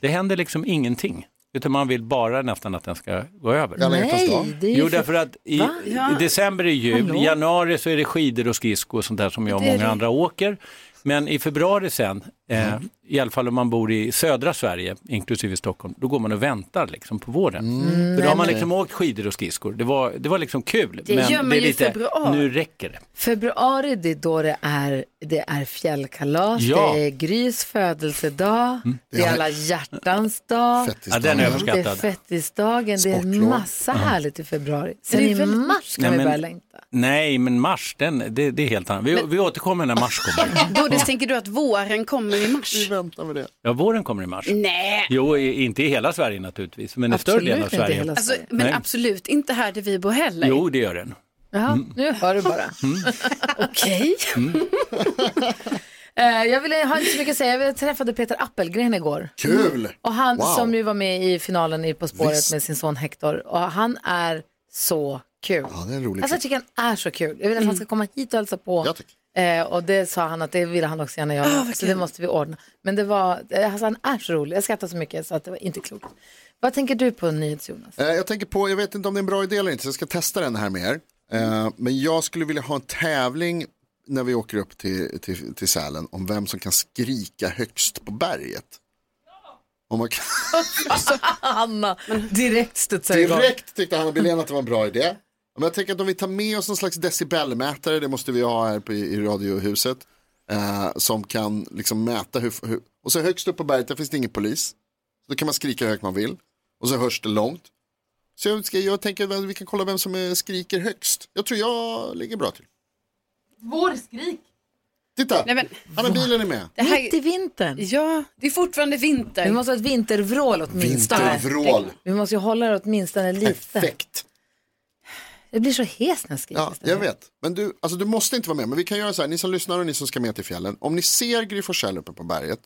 Speaker 10: Det händer liksom ingenting utan man vill bara nästan att den ska gå över.
Speaker 4: Alla hjärtans dag.
Speaker 1: Nej, det är
Speaker 10: Jo,
Speaker 1: ju... för-
Speaker 10: därför att i, i december är jul, i januari så är det skidor och skridsko och sånt där som jag och många andra åker. Men i februari sen, eh,
Speaker 2: Mm.
Speaker 10: i alla fall om man bor i södra Sverige, inklusive Stockholm, då går man och väntar liksom på våren. För då har man liksom åkt skidor och skridskor. Det var, det var liksom kul,
Speaker 2: Mm. Det gör
Speaker 10: men
Speaker 2: man
Speaker 10: det är
Speaker 2: ju i
Speaker 10: lite,
Speaker 2: februari.
Speaker 10: nu räcker det.
Speaker 1: Februari, det är då det är, det är fjällkalas,
Speaker 10: Ja. Mm.
Speaker 1: det är Grys födelsedag, det är alla hjärtans dag.
Speaker 4: Fettis
Speaker 10: Ja, den är
Speaker 4: dag.
Speaker 10: överskattad.
Speaker 1: Det är fettisdagen, det är en
Speaker 4: Sportlov.
Speaker 1: massa härligt i februari. Sen
Speaker 2: Det är
Speaker 1: i
Speaker 2: väldigt-
Speaker 1: mars kan
Speaker 10: Nej,
Speaker 1: vi
Speaker 10: men-
Speaker 1: börja längta.
Speaker 10: Nej, men mars, den, det, det är helt annat. Vi, vi återkommer när mars kommer.
Speaker 2: Bodis, tänker du att våren kommer i mars?
Speaker 4: Vänta med det.
Speaker 10: Ja, våren kommer i mars.
Speaker 2: Nej,
Speaker 10: Jo, i- inte i hela Sverige naturligtvis, men i större delen av
Speaker 1: Absolut inte
Speaker 10: Sverige.
Speaker 1: hela
Speaker 2: alltså,
Speaker 1: Sverige.
Speaker 2: men
Speaker 10: Nej.
Speaker 2: absolut inte här där vi bor heller.
Speaker 10: Jo, det gör den.
Speaker 1: Jaha,
Speaker 10: Mm.
Speaker 1: nu hör du bara.
Speaker 2: Okej.
Speaker 1: Eh, Jag ville ha inte så mycket att säga. Jag träffade Peter Appelgren igår.
Speaker 4: Kul!
Speaker 1: Och han
Speaker 4: Wow.
Speaker 1: som ju var med i finalen i På spåret
Speaker 4: Visst.
Speaker 1: med sin son Hector. Och han är så kul.
Speaker 4: Ja, det är en rolig
Speaker 1: Alltså jag tycker han är så kul. Jag vill att han ska komma hit och hälsa på.
Speaker 4: Liksom. Mm. Jag tycker. Ah,
Speaker 1: Eh, och det sa han att det ville han också gärna göra. så det måste vi ordna. Men det var, eh, alltså han är så rolig. Jag skrattar så mycket så att det var inte klokt. Vad tänker du på NyhetsJonas?
Speaker 4: Eh, Jag tänker på, jag vet inte om det är en bra idé eller inte, så jag ska testa den här med er. Eh, Men jag skulle vilja ha en tävling när vi åker upp till, till, till Sälen om vem som kan skrika högst på berget. Om man kan...
Speaker 1: Anna, direkt studsar
Speaker 4: Direkt tyckte Hanna Billén att det var en bra idé. Men jag tänker att om vi tar med oss någon slags decibelmätare, det måste vi ha här på, i radiohuset, eh, som kan liksom mäta hur, hur... Och så högst upp på berget, där finns det ingen polis. Så då kan man skrika hur högt man vill. Och så hörs det långt. Så jag, ska, jag tänker att vi kan kolla vem som eh, skriker högst. Jag tror jag ligger bra till. Vår skrik! Titta!
Speaker 2: Nej, men,
Speaker 4: Hanna Bilen är med.
Speaker 2: det här,
Speaker 1: Mitt i vintern.
Speaker 2: *laughs* ja, det är fortfarande vinter.
Speaker 1: Vi måste ha ett vintervrål åtminstone.
Speaker 4: Vintervrål.
Speaker 1: Vi måste ju hålla det åtminstone lite.
Speaker 4: Perfekt.
Speaker 1: Jag blir så hes när jag skriker.
Speaker 4: Ja, jag vet. Men du, alltså, du måste inte vara med. Men vi kan göra så här, ni som lyssnar och ni som ska med till fjällen. Om ni ser Gry Forssell uppe på berget,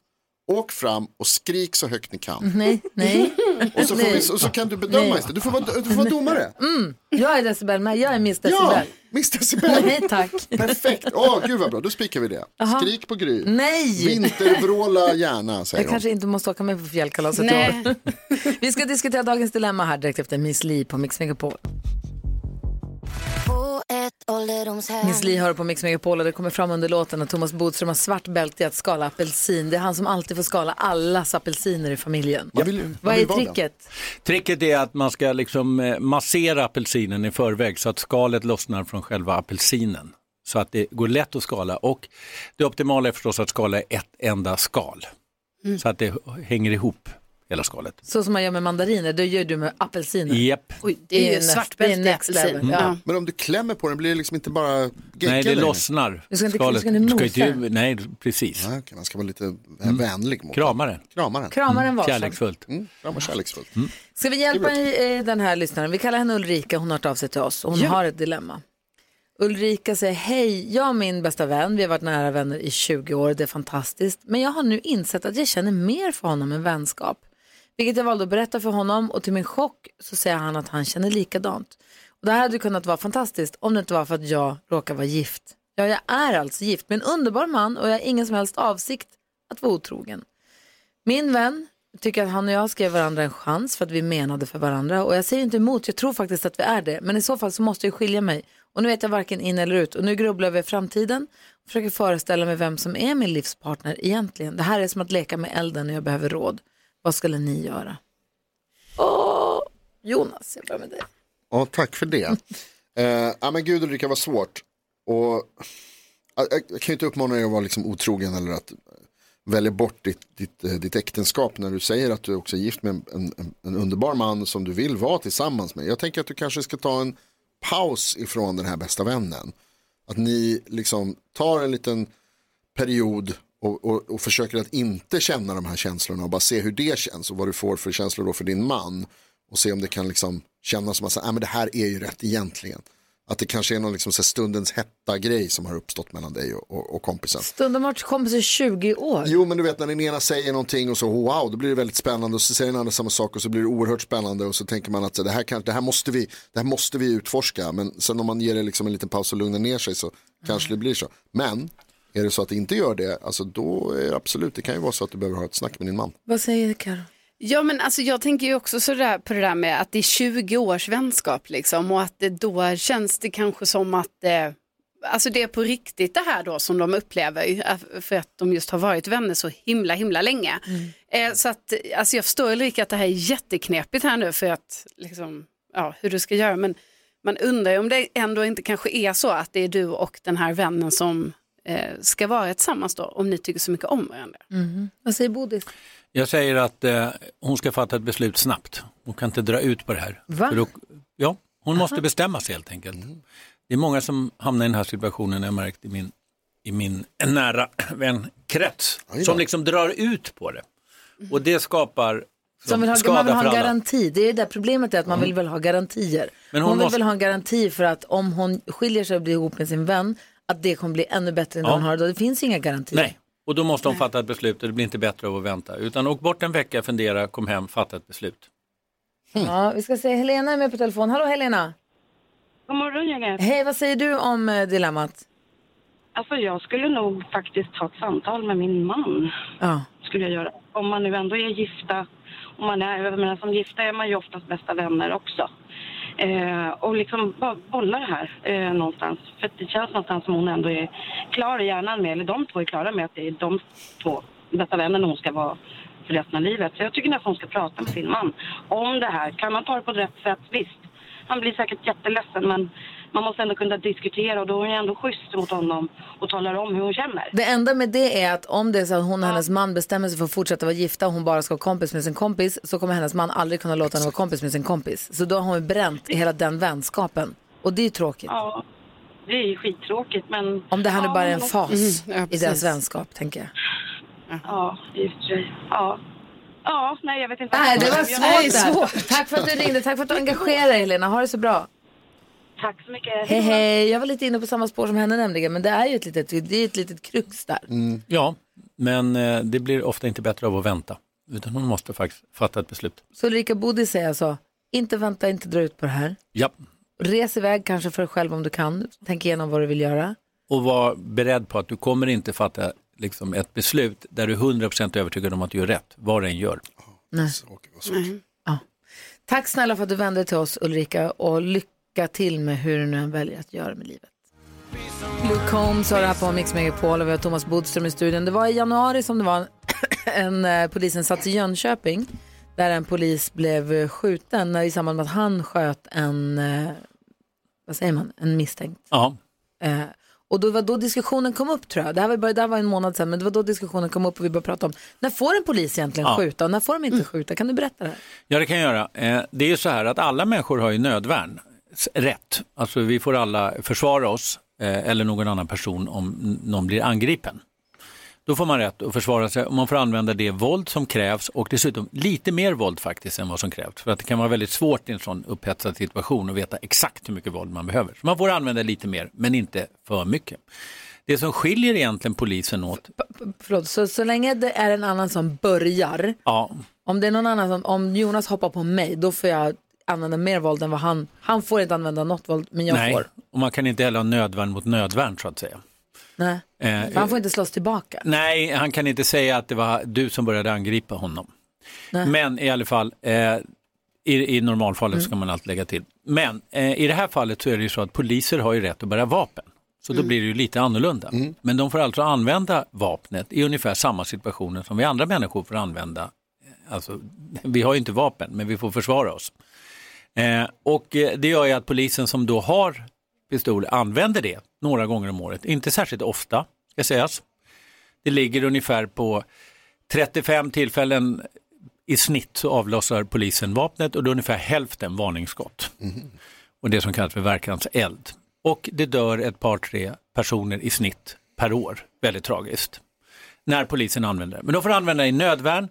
Speaker 4: Åk fram och skrik så högt ni kan.
Speaker 1: Nej, nej.
Speaker 4: *laughs* Och så, får vi, och så kan du
Speaker 1: Mm. Nej.
Speaker 4: bedöma istället. Du får vara, du får vara domare.
Speaker 1: Mm. Jag är decibel med, jag är Miss Decibel.
Speaker 4: Miss Decibel.
Speaker 1: Nej
Speaker 4: *laughs*
Speaker 1: tack.
Speaker 4: Perfekt. Åh, gud vad bra. Då spikar vi det.
Speaker 1: Mm. Jaha.
Speaker 4: Skrik på Gry.
Speaker 1: Nej.
Speaker 4: Vintervråla gärna, säger
Speaker 1: Jag
Speaker 4: hon.
Speaker 1: kanske inte måste åka med på fjällkalaset i
Speaker 4: Nej.
Speaker 1: år. *laughs* Vi ska diskutera dagens dilemma här direkt efter Miss Li på Mix Megapol. Miss Li hör på Mix Megapol och det kommer fram under låten att Thomas Bodström har svart bälte i att skala apelsin. Det är han som alltid får skala allas apelsiner i familjen. Vad är tricket?
Speaker 10: Tricket är att man ska liksom eh, massera apelsinen i förväg så att skalet lossnar från själva apelsinen. Så att det går lätt att skala och det optimala är förstås att skala ett enda skal.
Speaker 1: Mm.
Speaker 10: Så att det hänger ihop, hela skalet.
Speaker 1: Så som man gör med mandariner, det gör du med apelsiner.
Speaker 10: Japp.
Speaker 1: Oj,
Speaker 2: det är ju
Speaker 1: näst-
Speaker 2: svart
Speaker 1: det är
Speaker 2: bälte i
Speaker 1: next
Speaker 2: apelsin.
Speaker 1: level.
Speaker 10: Mm.
Speaker 1: Ja.
Speaker 4: Men om du klämmer på den blir det liksom inte bara gegga
Speaker 10: Nej, det
Speaker 4: längre.
Speaker 10: lossnar.
Speaker 1: Du ska inte-
Speaker 10: skalet.
Speaker 1: du ska inte
Speaker 10: Du
Speaker 1: nosa
Speaker 10: ju- Nej, precis.
Speaker 4: Nej, okej, man ska vara lite eh,
Speaker 10: Mm.
Speaker 4: vänlig mot
Speaker 10: Krama den.
Speaker 4: Krama den.
Speaker 1: Krama den varsamt.
Speaker 10: Kärleksfullt.
Speaker 4: Mm, krama kärleksfullt.
Speaker 1: Ska vi hjälpa i- eh, den här lyssnaren? Vi kallar henne Ulrika, hon har hört av sig till oss och hon har ett dilemma. Ulrika säger, hej, jag och min bästa vän, vi har varit nära vänner i 20 år, det är fantastiskt, men jag har nu insett att jag känner mer för honom än vänskap. Vilket jag valde att berätta för honom och till min chock så säger han att han känner likadant. Och det här hade kunnat vara fantastiskt om det inte var för att jag råkar vara gift. Ja, jag är alltså gift med en underbar man och jag har ingen som helst avsikt att vara otrogen. Min vän tycker att han och jag ska ge varandra en chans för att vi menade för varandra. Och jag säger inte emot, jag tror faktiskt att vi är det. Men i så fall så måste jag skilja mig. Och nu vet jag varken in eller ut. Och nu grubblar jag över framtiden och försöker föreställa mig vem som är min livspartner egentligen. Det här är som att leka med elden och jag behöver råd. Vad skulle ni göra? Åh, Jonas, jag börjar med dig.
Speaker 4: Ja, tack för det. Eh, ja, men gud Ulrika, vad svårt. Och, jag, jag- jag kan ju inte uppmana dig att vara liksom otrogen eller att välja bort ditt, ditt, eh, ditt äktenskap när du säger att du också är gift med en, en, en underbar man som du vill vara tillsammans med. Jag tänker att du kanske ska ta en paus ifrån den här bästa vännen. Att ni liksom tar en liten period och, och, och försöker att inte känna de här känslorna och bara se hur det känns och vad du får för känslor då för din man. Och se om det kan liksom kännas som att så här, "Ah, men det här är ju rätt egentligen. Att det kanske är någon liksom så här stundens hetta-grej som har uppstått mellan dig och, och, och kompisen.
Speaker 1: Stunden har varit kompis i 20 år.
Speaker 4: Jo, men du vet när den ena säger någonting och så wow, då blir det väldigt spännande och så säger den andra samma sak och så blir det oerhört spännande och så tänker man att så, det här, kan, det här, måste, vi, det här måste vi utforska. Men sen om man ger det liksom en liten paus och lugnar ner sig så kanske det blir så. Men är det så att det inte gör det, alltså då är det absolut, det kan ju vara så att du behöver ha ett snack med din man.
Speaker 1: Vad säger Karo?
Speaker 2: Ja men alltså jag tänker ju också sådär på det där med att det är 20 års vänskap liksom och att det då känns det kanske som att eh, alltså det är på riktigt det här då som de upplever ju, att- för att de just har varit vänner så himla himla länge. Eh, så att alltså jag förstår Ulrika att det här är jätteknepigt här nu för att liksom, ja hur du ska göra men man undrar ju om det ändå inte kanske är så att det är du och den här vännen som eh, ska vara tillsammans då om ni tycker så mycket om varandra.
Speaker 1: Vad säger Bodis?
Speaker 10: Jag säger att eh, hon ska fatta ett beslut snabbt. Hon kan inte dra ut på det här.
Speaker 1: Va?
Speaker 10: För då, ja, hon måste bestämma sig helt enkelt.
Speaker 1: Mm.
Speaker 10: Det är många som hamnar i den här situationen, jag har märkt i min, i min nära vänkrets,
Speaker 4: då.
Speaker 10: som liksom drar ut på det. Och det skapar
Speaker 1: Mm. Som vill ha,
Speaker 10: skada
Speaker 1: man vill ha
Speaker 10: för
Speaker 1: en
Speaker 10: alla.
Speaker 1: garanti. Det är det problemet är att man vill väl ha garantier.
Speaker 10: Men
Speaker 1: hon
Speaker 10: hon
Speaker 1: vill
Speaker 10: måste-
Speaker 1: väl ha en garanti för att om hon skiljer sig och blir ihop med sin vän att det kommer bli ännu bättre än
Speaker 10: Ja.
Speaker 1: hon har idag. Det finns ju inga garantier.
Speaker 10: Nej, och då måste hon fatta ett beslut och det blir inte bättre av att vänta. Utan åk bort en vecka, fundera, kom hem, fatta ett beslut.
Speaker 1: Ja, vi ska se, Helena är med på telefon. Hallå Helena!
Speaker 9: God morgon, gänget.
Speaker 1: Hej, vad säger du om eh, dilemmat?
Speaker 9: Alltså, jag skulle nog faktiskt ta ett samtal med min man.
Speaker 1: Ja.
Speaker 9: Skulle jag göra. Om man nu ändå är gifta. Om man är, jag menar, som gifta är man ju oftast bästa vänner också. Eh, och liksom bara bolla det här eh, någonstans. För att det känns någonstans som hon ändå är klar i hjärnan med, eller de två är klara med att det är de två bästa vännerna hon ska vara för resten av livet. Så jag tycker nästan hon ska prata med sin man om det här. Kan man ta det på rätt sätt? Visst. Han blir säkert jätteledsen men man måste ändå kunna diskutera och då är hon ju ändå schysst mot honom och talar om hur hon känner.
Speaker 1: Det enda med det är att om det är så att hon och hennes man bestämmer sig för att fortsätta vara gifta och hon bara ska vara kompis med sin kompis så kommer hennes man aldrig kunna låta henne vara kompis med sin kompis. Så då har hon bränt hela den vänskapen. Och det är ju tråkigt.
Speaker 9: Ja, det är ju skittråkigt men...
Speaker 1: Om det här nu
Speaker 9: Ja,
Speaker 1: bara är en
Speaker 9: men-
Speaker 1: fas
Speaker 2: Mm, ja,
Speaker 1: i
Speaker 2: precis.
Speaker 1: deras vänskap, tänker jag.
Speaker 9: Ja, i och för sig. Ja. Ja, nej jag vet inte.
Speaker 1: Nej, det var
Speaker 9: Jag-
Speaker 1: svårt.
Speaker 2: Nej,
Speaker 1: där.
Speaker 2: svårt.
Speaker 1: Tack för att du ringde. Tack för att du engagerade dig, Helena. Ha det så bra.
Speaker 9: Tack så
Speaker 1: *laughs*
Speaker 9: mycket.
Speaker 1: Hej, hej. Jag var lite inne på samma spår som henne nämligen, men det är ju ett litet, det är ett litet krux där.
Speaker 10: Ja, Men eh, det blir ofta inte bättre av att vänta, utan hon måste faktiskt fatta ett beslut.
Speaker 1: Så Ulrika Bodis säger alltså, inte vänta, inte dra ut på det här.
Speaker 10: Ja.
Speaker 1: Res iväg kanske för dig själv om du kan. Tänk igenom vad du vill göra.
Speaker 10: Och var beredd på att du kommer inte fatta liksom, ett beslut där du är 100% övertygad om att du gör rätt, vad du än gör.
Speaker 1: Nej. Ja. Tack snälla för att du vände dig till oss Ulrika och lycka till med hur du nu än väljer att göra med livet. Luke Combs har det här på Mix Megapol och vi har Thomas Bodström i studion. Det var i januari som det var en, en eh, polisinsats i Jönköping där en polis blev eh, skjuten när, i samband med att han sköt en, eh, vad säger man, en misstänkt.
Speaker 10: Ja.
Speaker 1: Eh, och då var då diskussionen kom upp tror jag. Det här var, bara, det här var en månad sedan men det var då diskussionen kom upp och vi började prata om när får en polis egentligen
Speaker 10: Ja.
Speaker 1: skjuta och när får de inte skjuta? Kan du berätta det här?
Speaker 10: Ja, det kan jag göra. Eh, Det är ju så här att alla människor har ju nödvärn, s- rätt. Alltså vi får alla försvara oss eh, eller någon annan person om n- någon blir angripen. Då får man rätt att försvara sig och man får använda det våld som krävs och dessutom lite mer våld faktiskt än vad som krävs. För att det kan vara väldigt svårt i en sån upphetsad situation att veta exakt hur mycket våld man behöver. Så man får använda lite mer, men inte för mycket. Det som skiljer egentligen polisen åt,
Speaker 1: Förlåt, så, så länge det är en annan som börjar,
Speaker 10: ja,
Speaker 1: om det är någon annan som, om Jonas hoppar på mig, då får jag använda mer våld än vad han, han får inte använda något våld, men jag
Speaker 10: nej,
Speaker 1: får.
Speaker 10: och man kan inte heller ha nödvärn mot nödvärn så att säga.
Speaker 1: Nej.
Speaker 10: Eh,
Speaker 1: För han får inte slåss tillbaka.
Speaker 10: Nej, han kan inte säga att det var du som började angripa honom.
Speaker 1: Nej.
Speaker 10: Men i alla fall, eh, i, i normalfallet ska man allt lägga till. Men eh, i det här fallet så är det ju så att poliser har ju rätt att bära vapen. Så då blir det ju lite annorlunda. Men de får alltså använda vapnet i ungefär samma situationer som vi andra människor får använda. Alltså, vi har ju inte vapen, men vi får försvara oss. Eh, och eh, det gör ju att polisen som då har pistol använder det några gånger om året. Inte särskilt ofta, ska sägas. Det ligger ungefär på 35 tillfällen i snitt så avlossar polisen vapnet och det är ungefär hälften varningsskott. Och det som kallas för verkanseld. Och det dör ett par tre personer i snitt per år, väldigt tragiskt, när polisen använder det. Men de får använda det i nödvärn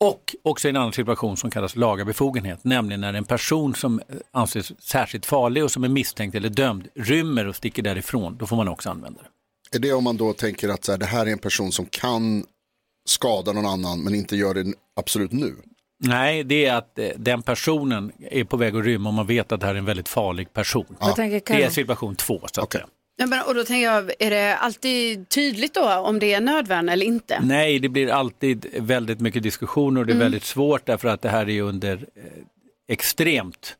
Speaker 10: och också i en annan situation som kallas laga befogenhet, nämligen när en person som eh, anses särskilt farlig och som är misstänkt eller dömd rymmer och sticker därifrån, då får man också använda det.
Speaker 4: Är det om man då tänker att så här, det här är en person som kan skada någon annan men inte gör det n- absolut nu?
Speaker 10: Nej, det är att eh, den personen är på väg att rymma och man vet att det här är en väldigt farlig person.
Speaker 2: Vad tänker Karin?
Speaker 10: Det är situation två. Så att säga.
Speaker 2: Ja, men, och då tänker jag, är det alltid tydligt då om det är nödvärn eller inte?
Speaker 10: Nej, det blir alltid väldigt mycket diskussioner och det är
Speaker 2: Mm.
Speaker 10: väldigt svårt därför att det här är ju under eh, extremt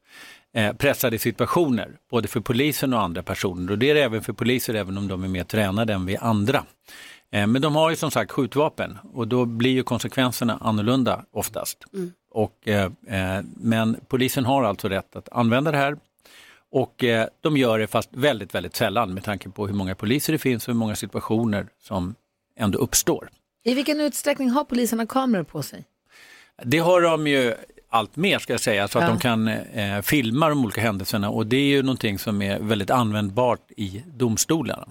Speaker 10: eh, pressade situationer, både för polisen och andra personer. Och det är det även för poliser, även om de är mer tränade än vi andra. Eh, men de har ju som sagt skjutvapen och då blir ju konsekvenserna annorlunda oftast.
Speaker 2: Mm.
Speaker 10: Och, eh, eh, men polisen har alltså rätt att använda det här. Och eh, de gör det fast väldigt, väldigt sällan med tanke på hur många poliser det finns och hur många situationer som ändå uppstår.
Speaker 1: I vilken utsträckning har poliserna kameror på sig?
Speaker 10: Det har de ju allt mer ska jag säga, så att
Speaker 1: Ja.
Speaker 10: de kan eh, filma de olika händelserna och det är ju någonting som är väldigt användbart i domstolarna.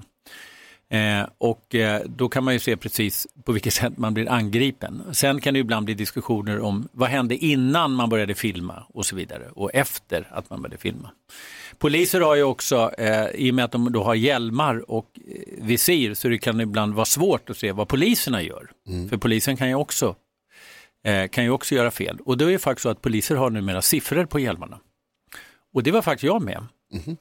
Speaker 10: Eh, och eh, då kan man ju se precis på vilket sätt man blir angripen. Sen kan det ju ibland bli diskussioner om vad hände innan man började filma och så vidare och efter att man började filma. Poliser har ju också, eh, i och med att de då har hjälmar och eh, visir, så det kan ibland vara svårt att se vad poliserna gör. För polisen kan ju också eh, kan ju också göra fel. Och det är ju faktiskt så att poliser har numera siffror på hjälmarna. Och det var faktiskt jag med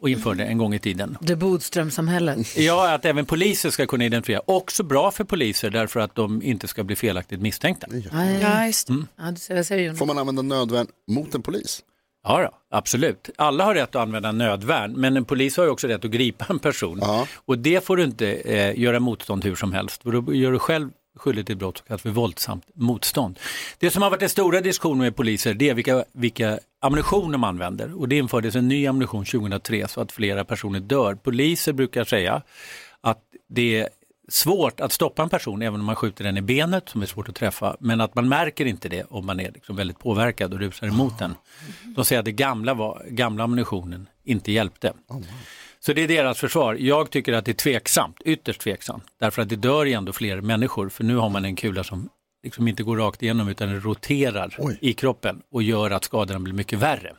Speaker 10: och införde en gång i tiden.
Speaker 1: Det Bodströmsamhället.
Speaker 10: Ja, att även poliser ska kunna identifiera. Också bra för poliser därför att de inte ska bli felaktigt misstänkta.
Speaker 1: Ja, just ja, du ser, vad säger Jonas?
Speaker 4: Får man använda nödvärn mot en polis?
Speaker 10: Ja, då, absolut. Alla har rätt att använda nödvärn, men en polis har ju också rätt att gripa en person. Och det får du inte eh, göra motstånd hur som helst, för då gör du själv skyldig till brott som kallas för våldsamt motstånd. Det som har varit den stora diskussionen med poliser, det är vilka, vilka ammunition de använder. Och det infördes en ny ammunition 2003 så att flera personer dör. Poliser brukar säga att det är svårt att stoppa en person även om man skjuter den i benet som är svårt att träffa men att man märker inte det om man är liksom väldigt påverkad och rusar emot den. De säger att det gamla, var, gamla ammunitionen inte hjälpte. Så det är deras försvar. Jag tycker att det är tveksamt, ytterst tveksamt, därför att det dör ju ändå fler människor för nu har man en kula som liksom inte går rakt igenom utan den roterar i kroppen och gör att skadorna blir mycket värre.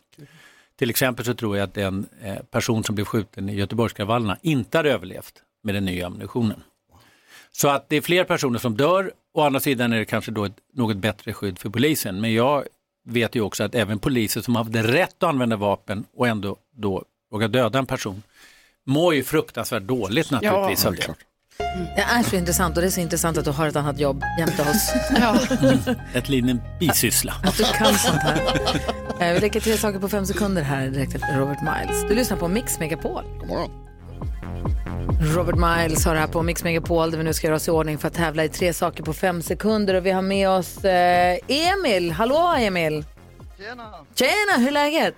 Speaker 10: Till exempel så tror jag att den eh, person som blev skjuten i Göteborgskravallerna inte hade överlevt med den nya ammunitionen. Så att det är fler personer som dör. Å andra sidan är det kanske då ett något bättre skydd för polisen. Men jag vet ju också att även poliser som hade rätt att använda vapen och ändå då vågar döda en person mår ju fruktansvärt dåligt naturligtvis
Speaker 1: Ja,
Speaker 10: av det.
Speaker 1: Det är så intressant och det är så intressant att du har ett annat jobb jämte oss.
Speaker 10: Mm. Ett litet bisyssla.
Speaker 1: Att du kan sånt här. Eh, Vi lägger till saker på fem sekunder här direkt efter Robert Miles. Du lyssnar på Mix Megapol.
Speaker 4: God morgon.
Speaker 1: Robert Miles har det här på Mix Megapol där vi nu ska göra oss i ordning för att tävla i tre saker på fem sekunder. Och vi har med oss eh, Emil. Hallå Emil!
Speaker 11: Tjena!
Speaker 1: Tjena, hur är läget?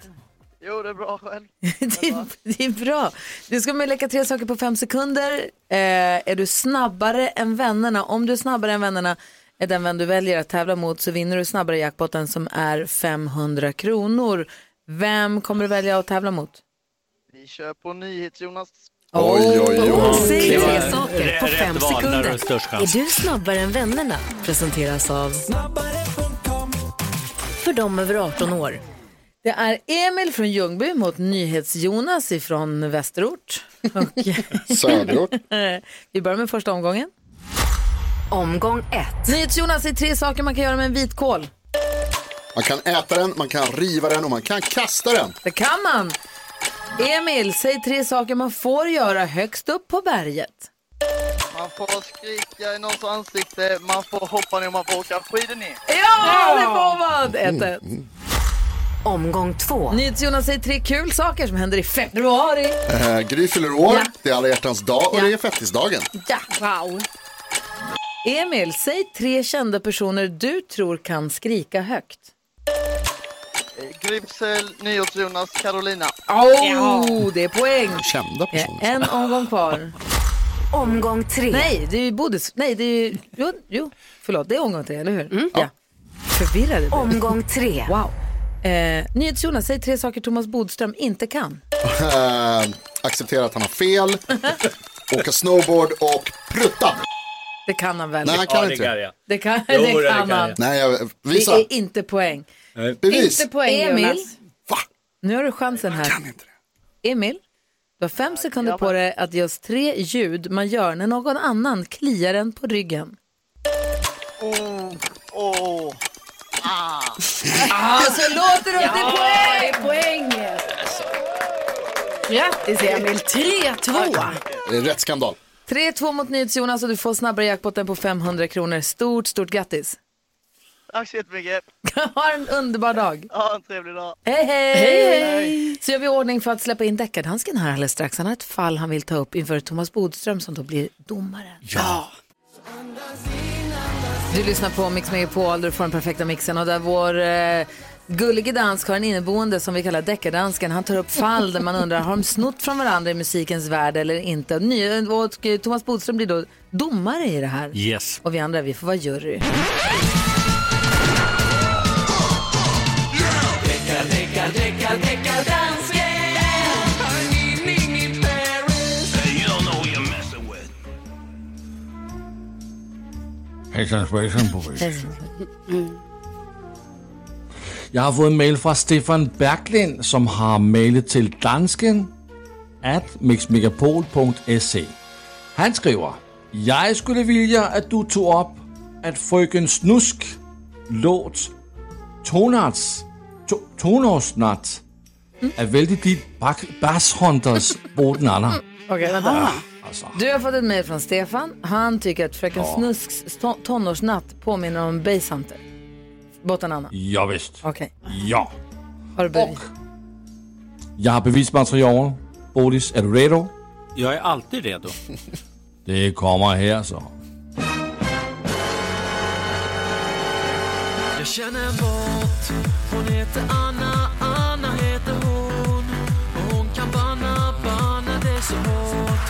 Speaker 11: Jo, det är bra själv.
Speaker 1: *laughs* det, är, det är bra. Du ska med leka tre saker på fem sekunder. Eh, är du snabbare än vännerna? Om du är snabbare än vännerna, är den vän du väljer att tävla mot, så vinner du snabbare jackpotten som är 500 kronor. Vem kommer du välja att tävla mot?
Speaker 11: Vi kör på NyhetsJonas.
Speaker 1: Oj, oj, oj.
Speaker 12: Säg tre
Speaker 1: Det var
Speaker 12: saker på
Speaker 1: rätt
Speaker 12: fem
Speaker 1: val när
Speaker 12: sekunder.
Speaker 1: du har störst chans.
Speaker 12: Är du snabbare än vännerna? Presenteras av För dem över 18 år.
Speaker 1: Det är Emil från Ljungby mot NyhetsJonas ifrån
Speaker 12: *laughs*
Speaker 1: Västerort. Och- eh,
Speaker 12: Söderort.
Speaker 1: Vi börjar med första omgången.
Speaker 12: Omgång 1.
Speaker 1: NyhetsJonas, är tre saker man kan göra med en vitkål.
Speaker 4: Man kan äta den, man kan riva den och man kan kasta den.
Speaker 1: Det kan man. Emil, säg tre saker man får göra högst upp på berget.
Speaker 11: Man får skrika i någons ansikte, man får hoppa ner och man får åka skidor ner.
Speaker 1: Ja, det får man!
Speaker 4: Mm,
Speaker 1: Ett, ett.
Speaker 12: Omgång två.
Speaker 1: NyhetsJonas, säg tre kul saker som händer i februari.
Speaker 4: Eh, Gry fyller år,
Speaker 1: Ja.
Speaker 4: det är alla hjärtans dag och
Speaker 1: Ja.
Speaker 4: det är fettisdagen.
Speaker 1: Ja. Wow. Emil, säg tre kända personer du tror kan skrika högt.
Speaker 11: Eh, Gryfsel, NyhetsJonas, Carolina.
Speaker 1: Oh, det är poäng.
Speaker 4: Kända
Speaker 1: personer. En omgång kvar.
Speaker 12: Omgång tre.
Speaker 1: Nej, det är ju Bodis. Nej, det är ju... Jo, jo, förlåt. Det är omgång tre, eller hur? Ja. Förvirrade du?
Speaker 12: Mm. Omgång tre.
Speaker 1: Wow. Eh, NyhetsJonas, säg tre saker Thomas Bodström inte kan.
Speaker 4: Eh, acceptera att han har fel, åka snowboard och prutta.
Speaker 1: Det kan han väl?
Speaker 4: Nej, han kan inte.
Speaker 1: Det kan,
Speaker 4: Jo,
Speaker 1: det
Speaker 4: det
Speaker 1: kan
Speaker 4: kan
Speaker 1: han.
Speaker 4: jag. Nej, jag- visa.
Speaker 1: Det är inte poäng.
Speaker 4: Bevis.
Speaker 1: Inte poäng,
Speaker 12: Emil.
Speaker 1: Jonas. Nu har du chansen här. Emil, du har fem sekunder på dig att ge oss tre ljud man gör när någon annan kliar en på ryggen.
Speaker 11: Oh, oh. Ah.
Speaker 1: Ah, så låter det! Det är poäng!
Speaker 2: Det är poäng!
Speaker 1: Grattis Emil, 3-2!
Speaker 4: Det är Rätt skandal.
Speaker 1: 3-2 mot NyhetsJonas och du får snabbare jackpotten på 500 kronor. Stort, stort grattis!
Speaker 11: Tack så jättemycket.
Speaker 1: *laughs* ha en underbar dag!
Speaker 11: Ha en trevlig dag.
Speaker 1: Hej, hej!
Speaker 11: Hej, hej.
Speaker 1: Så gör vi i ordning för att släppa in deckardansken här alldeles strax. Han har ett fall han vill ta upp inför Thomas Bodström som då blir domaren.
Speaker 10: Ja.
Speaker 1: Du lyssnar på Mix Megapol, du får den perfekta mixen och där vår eh, gullige dansk har en inneboende som vi kallar deckardansken. Han tar upp fall där man undrar, har de snott från varandra i musikens värld eller inte? Ny, och eh, Thomas Bodström blir då domare i det här.
Speaker 10: Yes.
Speaker 1: Och vi andra, vi får vara jury.
Speaker 3: Hejsan svejsan på Jeg har fået en mail fra Stefan Berglind, som har mailet til dansken at mixmegapol.se. E. Han skriver, Jeg skulle vilje, at du tog op, at frøken Snusk låt Tonarts to, Tonorsnart er vældig dit bak, basshånders boden anden.
Speaker 1: Okej, vänta. Du har fått ett mejl från Stefan. Han tycker att Fröken Snusks to- tonårsnatt påminner om Basehunter. Bottnanna.
Speaker 3: Ja vist.
Speaker 1: Okay.
Speaker 3: Ja.
Speaker 1: Har du bevis?
Speaker 3: Jeg har bevismateriale. Bodis, er du redo?
Speaker 10: Jag är alltid redo.
Speaker 3: Det kommer her så.
Speaker 13: Jag känner en båt, hon heter Anna, Anna heter hon Och hon kan banna, banna det så hårt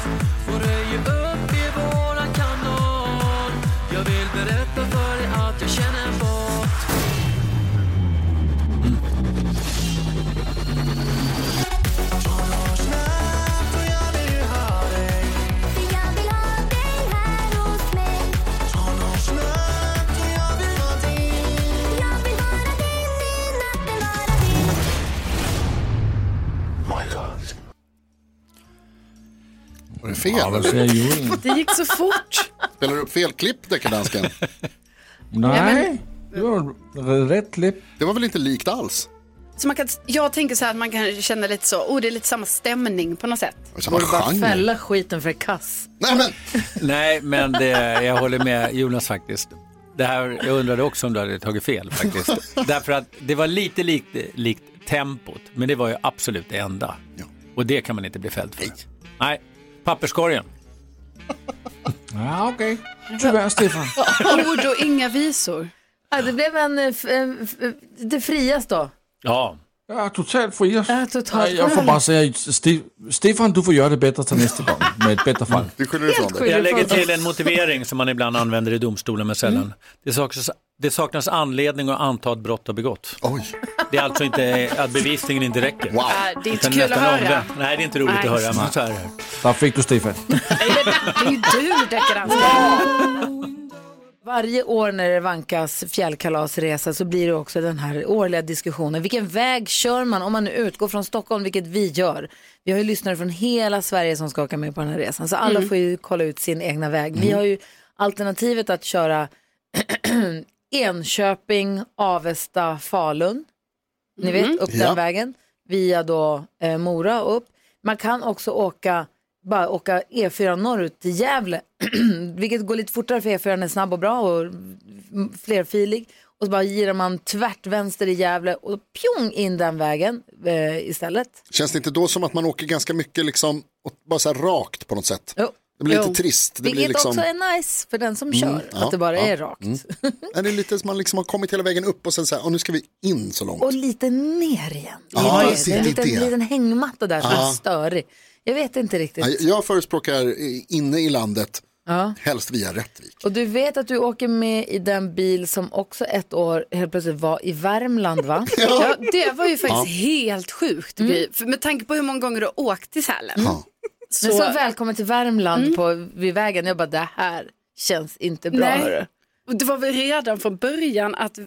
Speaker 13: Och röjer upp i våran kanon Jag vill berätta för dig att jag känner en båt
Speaker 4: Var det fel?
Speaker 3: det ser ju
Speaker 2: Det gick så fort.
Speaker 4: Spelar du upp fel klipp, deckardansken?
Speaker 3: Nej, det var rätt klipp.
Speaker 4: Det var väl inte likt alls?
Speaker 2: Så man kan, jag tänker så här att man kan känna lite så, oh det är lite samma stämning på något sätt.
Speaker 4: Samma
Speaker 1: Borde bara
Speaker 10: genre.
Speaker 1: fälla skiten för kass.
Speaker 4: Nej men!
Speaker 10: Nej, men det, jag håller med Jonas faktiskt. Det här, jag undrade också om du hade tagit fel faktiskt. Därför att det var lite likt, likt tempot, men det var ju absolut det enda. Och det kan man inte bli fälld för. Nej, papperskorgen.
Speaker 3: Ja, okej. Tyvärr, Stefan.
Speaker 2: Ord och Oh, inga visor.
Speaker 1: Ja, det blev en, eh, f- en f- det frias då.
Speaker 10: Ja.
Speaker 3: Ja, totalt fri.
Speaker 1: Ja, totalt.
Speaker 3: Nej, Jag får bara säga, Ste Stefan, du får göra det bättre till nästa gång med ett bättre fall.
Speaker 4: Du skyller
Speaker 1: ifrån dig.
Speaker 10: Jag lägger till en motivering som man ibland använder i domstolen med sällan.
Speaker 2: Mm.
Speaker 10: Det, saknas, det saknas anledning att anta att brott har begåtts. Det är alltså inte att bevisningen inte räcker. Wow.
Speaker 2: det är inte kul att höra.
Speaker 10: Nej, det är inte roligt
Speaker 2: Nej.
Speaker 10: att höra. Men så här.
Speaker 3: Där fick du Stefan.
Speaker 2: Det är ju du deckardansken.
Speaker 1: Varje år när det vankas fjällkalasresa så blir det också den här årliga diskussionen. Vilken väg kör man om man nu utgår från Stockholm, vilket vi gör? Vi har ju lyssnare från hela Sverige som ska åka med på den här resan, så alla
Speaker 2: Mm.
Speaker 1: får ju kolla ut sin egna väg. Vi
Speaker 2: Mm.
Speaker 1: har ju alternativet att köra *clears throat* Enköping, Avesta, Falun. Ni
Speaker 2: Mm.
Speaker 1: vet, upp
Speaker 2: Ja.
Speaker 1: den vägen. Via då eh, Mora och upp. Man kan också åka, bara åka E4 norrut till Gävle. *clears throat* vilket går lite fortare för E4 är snabb och bra och m- flerfilig. Och så bara girar man tvärt vänster i Gävle och pjong in den vägen eh, istället.
Speaker 4: Känns det inte då som att man åker ganska mycket liksom, och bara så här rakt på något sätt? Det blir
Speaker 1: Jo.
Speaker 4: lite trist. Det
Speaker 1: vilket
Speaker 4: blir liksom...
Speaker 1: också är nice för den som
Speaker 4: Mm,
Speaker 1: kör,
Speaker 4: ja,
Speaker 1: att det bara
Speaker 4: ja.
Speaker 1: är rakt.
Speaker 4: Mm. Nej, Det är lite som man liksom har kommit hela vägen upp och sen så här, och nu ska vi in så långt.
Speaker 1: Och lite ner igen.
Speaker 4: Ja,
Speaker 1: Lite ner.
Speaker 4: precis,
Speaker 1: det är en
Speaker 4: det är
Speaker 1: liten,
Speaker 4: det.
Speaker 1: liten hängmatta där som
Speaker 4: Ja.
Speaker 1: är störig. Jag vet inte riktigt.
Speaker 4: Nej, Jag förespråkar eh, inne i landet,
Speaker 1: Ja.
Speaker 4: helst via Rättvik.
Speaker 1: Och du vet att du åker med i den bil som också ett år helt plötsligt var i Värmland
Speaker 4: *laughs*
Speaker 1: va?
Speaker 2: Ja, det var ju faktiskt
Speaker 1: Ja.
Speaker 2: helt sjukt.
Speaker 1: Mm.
Speaker 2: Vi- för- Med tanke på hur många gånger du har åkt till Sälen.
Speaker 1: Så... Mm. Men så välkommen till Värmland på, vid vägen. Jag bara det här känns inte bra. hörru.
Speaker 2: Nej. Och det var väl redan från början att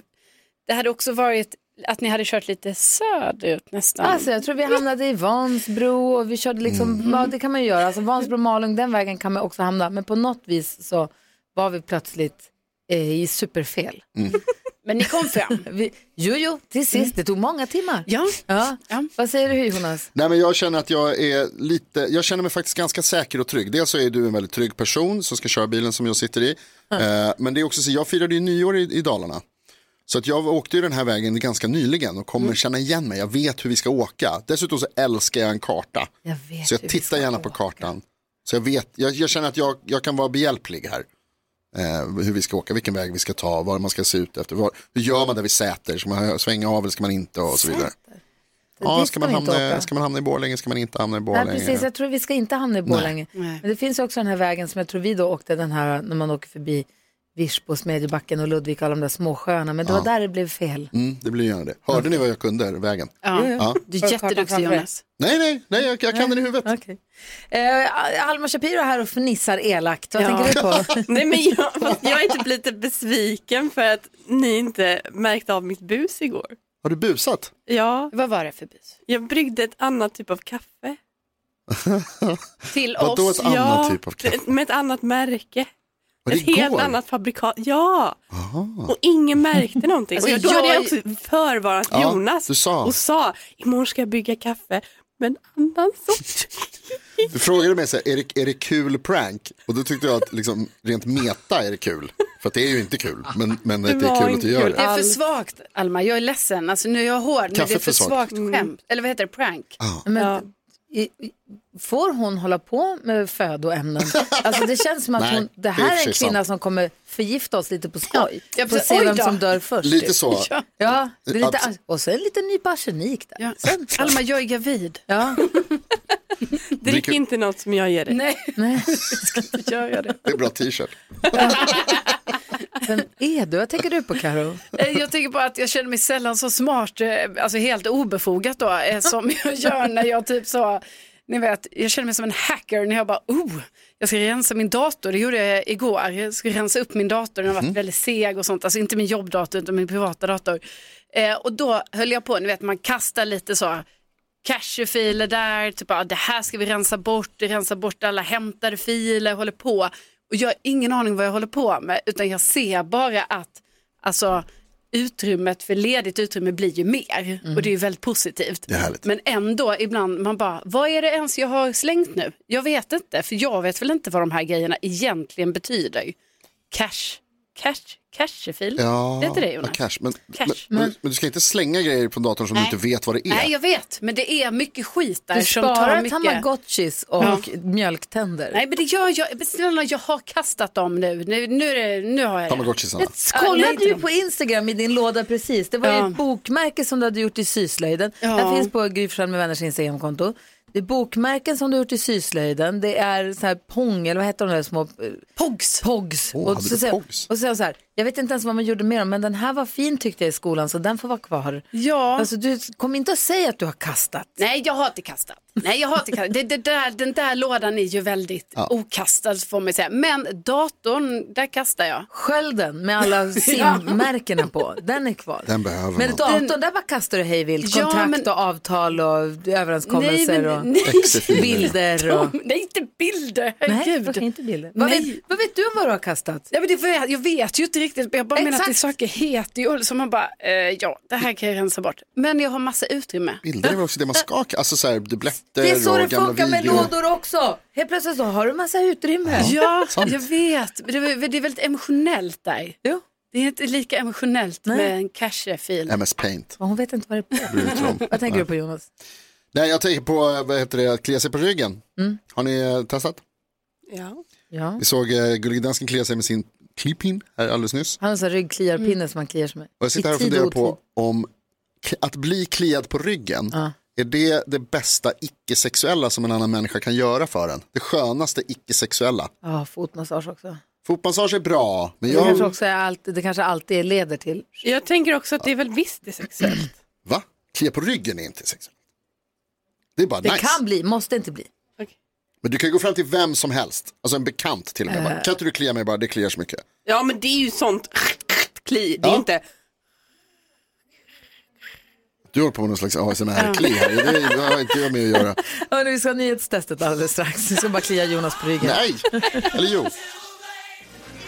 Speaker 2: det hade också varit att ni hade kört lite söderut nästan.
Speaker 1: Alltså jag tror vi hamnade i Vansbro och vi körde liksom, ja, det kan man ju göra. Alltså Vansbro, Malung, den vägen kan man också hamna. Men på något vis så var vi plötsligt eh, i superfel.
Speaker 2: Men ni kom fram.
Speaker 1: vi, jo, jo, till sist. Det tog många timmar.
Speaker 2: Ja.
Speaker 1: Mm. ja. Vad säger du Jonas?
Speaker 4: Nej, men jag känner att jag är lite, jag känner mig faktiskt ganska säker och trygg. Dels så är du en väldigt trygg person som ska köra bilen som jag sitter i. Eh, men det är också så, jag firade ju nyår i, i Dalarna. Så att jag åkte ju den här vägen ganska nyligen och kommer känna igen mig. Jag vet hur vi ska åka. Dessutom så älskar jag en karta.
Speaker 1: Jag vet
Speaker 4: så jag tittar gärna på kartan. Så jag vet, jag, jag känner att jag, jag kan vara behjälplig här. Eh, hur vi ska åka, vilken väg vi ska ta, var man ska se ut efter. Var, hur gör man där vi säter? Ska man svänga av eller ska man inte? Och så vidare. Ja,
Speaker 1: dit
Speaker 4: ska man,
Speaker 1: inte
Speaker 4: hamna,
Speaker 1: åka.
Speaker 4: ska man hamna i Borlänge, ska man inte hamna i
Speaker 1: Nej,
Speaker 4: Borlänge?
Speaker 1: precis. Jag tror vi ska inte hamna i Borlänge. Men det finns ju också den här vägen som jag tror vi då åkte, den här när man åker förbi Virsbo, Smedjebacken och Ludvika, alla de där småsjöarna. Men det
Speaker 4: Ja.
Speaker 1: var där det blev fel.
Speaker 4: Mm, det blir gärna det. Hörde ni vad jag kunde vägen?
Speaker 1: Ja.
Speaker 2: Du är jätteduktig Jonas.
Speaker 4: Nej, nej, nej jag, jag kan den i huvudet.
Speaker 1: Eh, Alma Shapiro är här och fnissar elakt. Vad
Speaker 7: Ja.
Speaker 1: tänker du
Speaker 2: *laughs*
Speaker 1: på?
Speaker 7: *laughs* Nej, men jag, jag är typ lite besviken för att ni inte märkte av mitt bus igår.
Speaker 4: Har du busat?
Speaker 7: Ja.
Speaker 2: Vad var det för bus?
Speaker 7: Jag bryggde ett annat typ av kaffe.
Speaker 2: Till
Speaker 4: Vadå oss? ett annat typ av kaffe?
Speaker 7: Med ett annat märke.
Speaker 4: Var det
Speaker 7: Ett helt
Speaker 4: igår?
Speaker 7: annat fabrikat. Ja,
Speaker 4: Aha.
Speaker 7: och ingen märkte någonting.
Speaker 2: Alltså,
Speaker 7: och då
Speaker 2: jag-
Speaker 7: hade jag också förvarnat
Speaker 4: Ja,
Speaker 7: Jonas
Speaker 4: du sa.
Speaker 7: och sa imorgon ska jag bygga kaffe med en annan sort.
Speaker 4: *laughs* Du frågade mig så här, är det, är det kul prank? Och då tyckte jag att liksom, rent meta är det kul. För att det är ju inte kul, men, men att det är kul att du gör det.
Speaker 2: Det är för svagt Alma, jag är ledsen. Alltså, nu är jag hård, men
Speaker 4: Kaffe
Speaker 2: det är för
Speaker 4: för svagt. Ah.
Speaker 2: svagt skämt. Eller vad heter det, prank?
Speaker 1: Men, i, i- får hon hålla på med födoämnen? Alltså det känns som att
Speaker 4: *laughs* Nej,
Speaker 1: hon,
Speaker 4: det
Speaker 1: det
Speaker 4: är i och
Speaker 1: här
Speaker 4: för
Speaker 1: är en
Speaker 4: sig
Speaker 1: kvinna
Speaker 4: sant.
Speaker 1: som kommer förgifta oss lite på skoj.
Speaker 2: Ja,
Speaker 1: Får
Speaker 2: precis.
Speaker 1: se
Speaker 2: Oj
Speaker 1: vem
Speaker 2: då.
Speaker 1: som dör först.
Speaker 4: Lite så.
Speaker 1: Ja, ja det är lite,
Speaker 4: Abs-
Speaker 1: och så en liten nypa arsenik där. Sen,
Speaker 2: Alma, jag är *laughs* gravid.
Speaker 1: Ja.
Speaker 7: Drick inte något som jag ger dig.
Speaker 2: Nej,
Speaker 1: Nej.
Speaker 2: gör det.
Speaker 4: Det är bra t-shirt.
Speaker 1: Vem är du? Vad tänker du på Karo?
Speaker 2: Eh, Jag tänker bara att jag känner mig sällan så smart, eh, alltså helt obefogat då, eh, som *laughs* jag gör när jag typ så, ni vet, jag känner mig som en hacker när jag bara, oh, jag ska rensa min dator, det gjorde jag igår, jag skulle rensa upp min dator, den har
Speaker 4: Mhm.
Speaker 2: varit väldigt seg och sånt, alltså inte min jobbdator utan min privata dator. Eh, och då höll jag på, ni vet, man kastar lite så, cashewfiler där, typ ah, det här ska vi rensa bort, rensa bort alla hämtade filer, håller på. Och Och jag har ingen aning vad jag håller på med utan jag ser bara att alltså, utrymmet för ledigt utrymme blir ju mer
Speaker 1: Mm.
Speaker 2: och det är ju väldigt positivt.
Speaker 4: Det är härligt.
Speaker 2: Men ändå ibland man bara, vad är det ens jag har slängt nu? Jag vet inte för jag vet väl inte vad de här grejerna egentligen betyder. Cash, cash, cashefil.
Speaker 4: Ja,
Speaker 2: Heter det Jonas?
Speaker 4: ja, cash. Men,
Speaker 2: Cash,
Speaker 4: Men,
Speaker 2: men-
Speaker 4: men, men du ska inte slänga grejer på datorn som
Speaker 2: Nej.
Speaker 4: du inte vet vad det är.
Speaker 2: Nej jag vet, men det är mycket skit där
Speaker 1: Du
Speaker 2: som tar
Speaker 1: sparar
Speaker 2: mycket.
Speaker 1: tamagotchis och mjölktänder.
Speaker 2: Nej men det gör jag, men snälla jag har kastat dem nu, nu, nu, är det- nu har jag det.
Speaker 1: Jag
Speaker 2: Ja,
Speaker 1: kollade
Speaker 2: nej,
Speaker 1: ju på Instagram i din låda precis. Det var ju
Speaker 2: Ja.
Speaker 1: ett bokmärke som du hade gjort i syslöjden.
Speaker 2: Ja.
Speaker 1: Den finns på Gry Forssell med vänners Instagramkonto. Det är bokmärken som du har gjort i syslöjden. Det är så här pong, eller vad heter de där små? eh,
Speaker 2: Pogs.
Speaker 1: Pogs.
Speaker 2: Åh,
Speaker 1: och,
Speaker 2: hade
Speaker 1: så,
Speaker 2: du
Speaker 1: säger-
Speaker 2: pogs?
Speaker 1: och så, säger jag så här, jag vet inte ens vad man gjorde med dem, men den här var fin tyckte jag i skolan, så den får vara kvar.
Speaker 2: Ja.
Speaker 1: Alltså, du kom inte att säga att du har kastat.
Speaker 2: Nej jag har inte kastat. Nej jag har inte kastat. Det, det där, den där lådan är ju väldigt
Speaker 1: Ja.
Speaker 2: okastad får man säga. Men datorn, där kastar jag.
Speaker 1: Skölden med *laughs* alla simmärkena på, den är kvar.
Speaker 4: Den behöver
Speaker 1: Men
Speaker 4: man.
Speaker 1: datorn, där bara kastar du hej vilt.
Speaker 2: Ja,
Speaker 1: Kontrakt
Speaker 2: men-
Speaker 1: och avtal och överenskommelser
Speaker 2: *laughs* Nej, men-
Speaker 1: och
Speaker 2: nej.
Speaker 1: bilder. Och...
Speaker 2: De- Nej inte bilder,
Speaker 1: Nej,
Speaker 2: herregud.
Speaker 1: varför inte bilder? Vad vet, vad vet du om vad du har kastat?
Speaker 2: Ja, men det vet, jag vet ju inte riktigt, men jag bara menar att det är
Speaker 1: Exakt.
Speaker 2: saker heter ju så man bara, eh, ja det här kan jag rensa bort. Men jag har massa utrymme.
Speaker 4: Bilder är väl också det man ska, alltså så här dubbletter
Speaker 1: Det är så
Speaker 4: och
Speaker 1: det
Speaker 4: gamla
Speaker 1: funkar med
Speaker 4: videor.
Speaker 1: lådor också. Helt plötsligt så har du massa utrymme.
Speaker 2: Ja, jag vet. Men Det är, det är väldigt emotionellt där.
Speaker 1: Jo.
Speaker 2: Det är inte lika emotionellt med en cache-fil.
Speaker 4: MS Paint.
Speaker 1: Hon vet inte vad det
Speaker 4: Bryr sig
Speaker 1: är
Speaker 4: om.
Speaker 1: på. Vad tänker du på Jonas?
Speaker 4: Nej, jag tänker på, eh, vad heter det, att klia sig på ryggen.
Speaker 1: Mm.
Speaker 4: Har ni eh, testat?
Speaker 2: Ja.
Speaker 1: Ja.
Speaker 4: Vi såg eh, Gullige Dansken klia sig med sin klipin här alldeles nyss.
Speaker 1: Han har en sån här ryggkliarpinne som han kliar sig med.
Speaker 4: Och jag sitter
Speaker 1: I
Speaker 4: här och
Speaker 1: tid
Speaker 4: funderar
Speaker 1: otid.
Speaker 4: på om k- att bli kliad på ryggen, är det det bästa icke-sexuella som en annan människa kan göra för en? Det skönaste icke-sexuella.
Speaker 1: Ja, fotmassage också.
Speaker 4: Fotmassage är bra, men
Speaker 1: Det kanske,
Speaker 4: jag...
Speaker 1: också är alltid, det kanske alltid leder till.
Speaker 7: Jag tänker också att det är väl visst det är sexuellt.
Speaker 4: Va? Klia på ryggen är inte sexuellt. Det är bara
Speaker 1: Det
Speaker 4: nice.
Speaker 1: kan bli, måste inte bli.
Speaker 4: Men du kan ju gå fram till vem som helst, alltså en bekant till och med.
Speaker 1: Äh.
Speaker 4: Bara, Kan inte du klia mig bara, det kliar så mycket.
Speaker 7: Ja men det är ju sånt kli, det är
Speaker 4: Ja.
Speaker 7: inte
Speaker 4: Du håller på med någon slags ASMR-kli här, det har inte jag med
Speaker 1: *laughs*
Speaker 4: att göra.
Speaker 1: Hörni, vi ska ha nyhetstestet alldeles strax. Vi ska bara klia Jonas på ryggen.
Speaker 4: Nej, eller jo.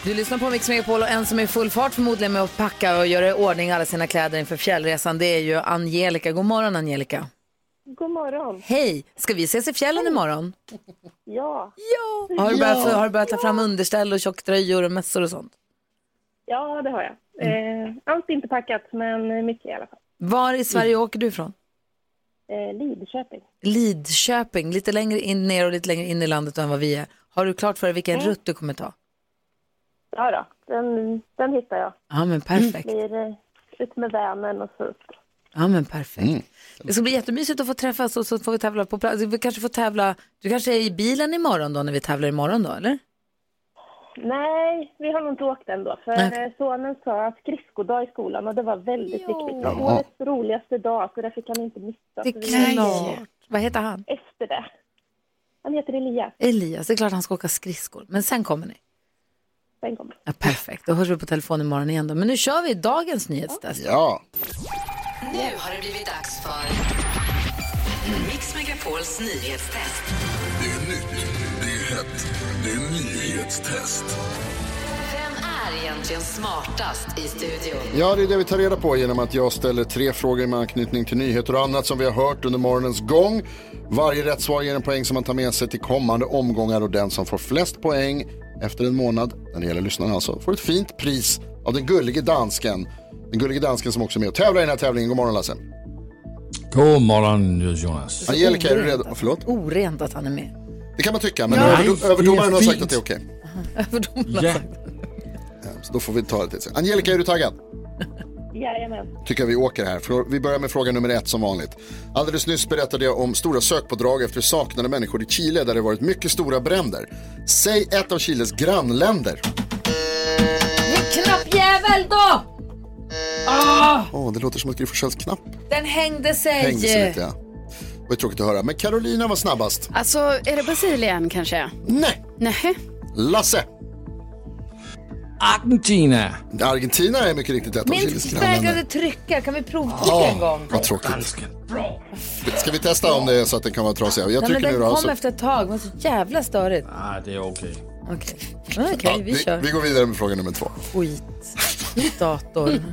Speaker 1: Du lyssnar på Mix Megapol och en som är i full fart förmodligen med att packa och göra i ordning alla sina kläder inför fjällresan, det är ju Angelica. God morgon Angelica.
Speaker 14: God morgon.
Speaker 1: Hej, ska vi ses i fjällen imorgon?
Speaker 14: Ja.
Speaker 1: Ja. Har du börjat, har du börjat ta fram underställ och tjocktröjor och mössor och sånt?
Speaker 14: Ja, det har jag. Eh, allt är inte packat, men mycket i alla fall.
Speaker 1: Var i Sverige åker du ifrån?
Speaker 14: Eh, Lidköping.
Speaker 1: Lidköping, lite längre in ner och lite längre in i landet än vad vi är. Har du klart för dig vilken
Speaker 14: Mm.
Speaker 1: rutt du kommer ta?
Speaker 14: Ja, då. Den, den hittar jag.
Speaker 1: Ja men perfekt.
Speaker 8: Mm.
Speaker 14: Blir eh, ut med Vänern och så upp.
Speaker 1: Ja men perfekt.
Speaker 4: Mm.
Speaker 1: Det ska bli jättemysigt att få träffas och så får vi tävla på plats. Vi kanske får tävla, du kanske är i bilen imorgon då när vi tävlar imorgon då eller?
Speaker 14: Nej, vi har nog inte åkt än då. För
Speaker 1: Nej.
Speaker 14: eh, sonen sa skridskodag i skolan och det var väldigt viktigt. Det var
Speaker 1: Jaha.
Speaker 14: årets roligaste dag, så det fick han inte missa.
Speaker 1: Det är
Speaker 14: Så vi var
Speaker 1: klart. Vad heter han?
Speaker 14: Efter det. Han heter Elias.
Speaker 1: Elias, det är klart han ska åka skridskor. Men sen kommer ni.
Speaker 14: Sen kommer
Speaker 1: Ja, perfekt, då hörs vi på telefon imorgon igen då. Men nu kör vi dagens nyhetstest.
Speaker 4: Ja.
Speaker 12: Nu har det blivit dags för Mix Megapols nyhetstest.
Speaker 6: Det är nytt, det är hett, det är nyhetstest.
Speaker 12: Vem är egentligen smartast i studion?
Speaker 4: Ja, det är det vi tar reda på genom att jag ställer tre frågor med anknytning till nyheter och annat som vi har hört under morgonens gång. Varje rätt svar ger en poäng som man tar med sig till kommande omgångar och den som får flest poäng efter en månad, när det gäller lyssnarna alltså, får ett fint pris av den gullige dansken. Den gullige dansken som också är med och tävlar i den här tävlingen. God morgon Lasse.
Speaker 3: God morgon Jonas.
Speaker 4: Angelica, är du redo? Förlåt?
Speaker 1: Orent att han är med.
Speaker 4: Det kan man tycka, men
Speaker 1: Nej,
Speaker 4: överdo-
Speaker 1: det är
Speaker 4: överdomaren har sagt
Speaker 1: fint.
Speaker 4: att det är okej.
Speaker 1: Överdomarna
Speaker 4: Ja.
Speaker 1: har sagt.
Speaker 4: Så då får vi ta det till sig. Angelica, är du taggad?
Speaker 14: det. Jajamän.
Speaker 4: tycker jag vi åker här. För vi börjar med fråga nummer ett som vanligt. Alldeles nyss berättade jag om stora sökpådrag efter saknade människor i Chile där det varit mycket stora bränder. Säg ett av Chiles grannländer.
Speaker 1: Knappjävel då! Ah,
Speaker 4: Åh, det låter som att Gry Forssells knapp
Speaker 1: den hängde sig. eh,
Speaker 4: hängde sig lite. Ja. Det var tråkigt att höra. Men Carolina var snabbast.
Speaker 2: Alltså är det Brasilien kanske?
Speaker 4: Nej.
Speaker 2: Nej.
Speaker 4: Lasse.
Speaker 3: Argentina.
Speaker 4: Argentina är mycket riktigt ett av
Speaker 1: Min
Speaker 4: Chiles
Speaker 1: vägrade
Speaker 4: grannländer.
Speaker 1: trycka, kan vi provtrycka en
Speaker 4: Ja,
Speaker 1: gång?
Speaker 4: vad tråkigt. Ska vi testa om det är så att den kan vara trasig? Jag
Speaker 1: Nej, men
Speaker 4: trycker nu
Speaker 1: den
Speaker 4: då. alltså-
Speaker 1: kom
Speaker 4: så-
Speaker 1: efter ett tag, det var så jävla störigt.
Speaker 3: Ah, det är okej.
Speaker 1: Okej, Okej, vi kör.
Speaker 4: vi går vidare med fråga nummer två.
Speaker 1: Skit. Dator.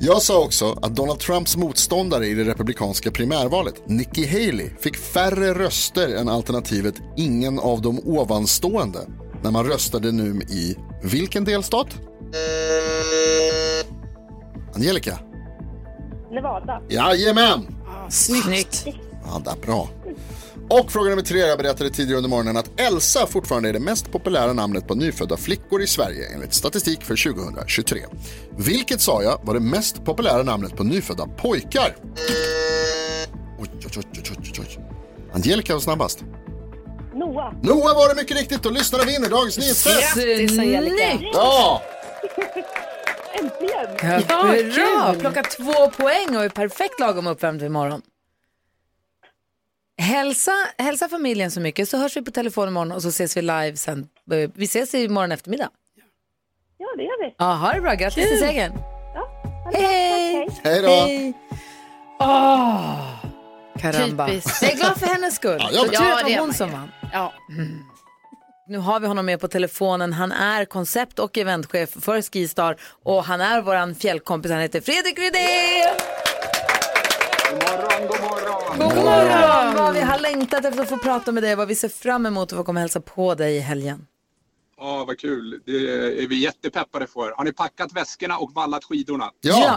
Speaker 4: Jag sa också att Donald Trumps motståndare i det republikanska primärvalet, Nikki Haley, fick färre röster än alternativet ingen av de ovanstående när man röstade nu i vilken delstat? Angelica?
Speaker 14: Nevada.
Speaker 4: Jajamän!
Speaker 2: Snyggt.
Speaker 4: Ja, det är bra. Och fråga nummer tre. Jag berättade tidigare under morgonen att Elsa fortfarande är det mest populära namnet på nyfödda flickor i Sverige enligt statistik för 2023. Vilket sa jag var det mest populära namnet på nyfödda pojkar? Oj, oj, oj, oj, oj, oj. Angelica var snabbast.
Speaker 14: Noah.
Speaker 4: Noah var det mycket riktigt och lyssnarna vinner Dagens Nyhetstest!
Speaker 14: Grattis, Angelica.
Speaker 4: Ja!
Speaker 14: Äntligen!
Speaker 1: Ja, bra! Plocka två poäng och är perfekt lagom uppvärmd för imorgon. Hälsa, hälsa familjen så mycket så hörs vi på telefon imorgon och så ses vi live sen. Eh, Vi ses imorgon eftermiddag.
Speaker 14: Ja, det gör vi.
Speaker 1: Ja, ha det bra. Grattis till
Speaker 14: Kul.
Speaker 1: segern.
Speaker 14: Hej, hej!
Speaker 4: Hej då.
Speaker 1: Åh, Karamba.
Speaker 13: Ah, Typiskt.
Speaker 1: Jag är glad för hennes skull.
Speaker 13: Ja,
Speaker 1: Ja, jag
Speaker 13: jag med.
Speaker 1: tur
Speaker 13: Ja,
Speaker 1: att
Speaker 13: det
Speaker 1: det
Speaker 13: är
Speaker 1: var hon
Speaker 13: man
Speaker 1: som
Speaker 13: ju.
Speaker 1: vann. Mm. Nu har vi honom med på telefonen. Han är koncept och eventchef för Skistar och han är vår fjällkompis. Han heter Fredrik Rydén! God morgon! Vad vi har längtat efter att få prata med dig, vad vi ser fram emot att få komma och hälsa på dig i helgen.
Speaker 15: Ja, vad kul. Det är vi jättepeppade för. Har ni packat väskorna och vallat skidorna?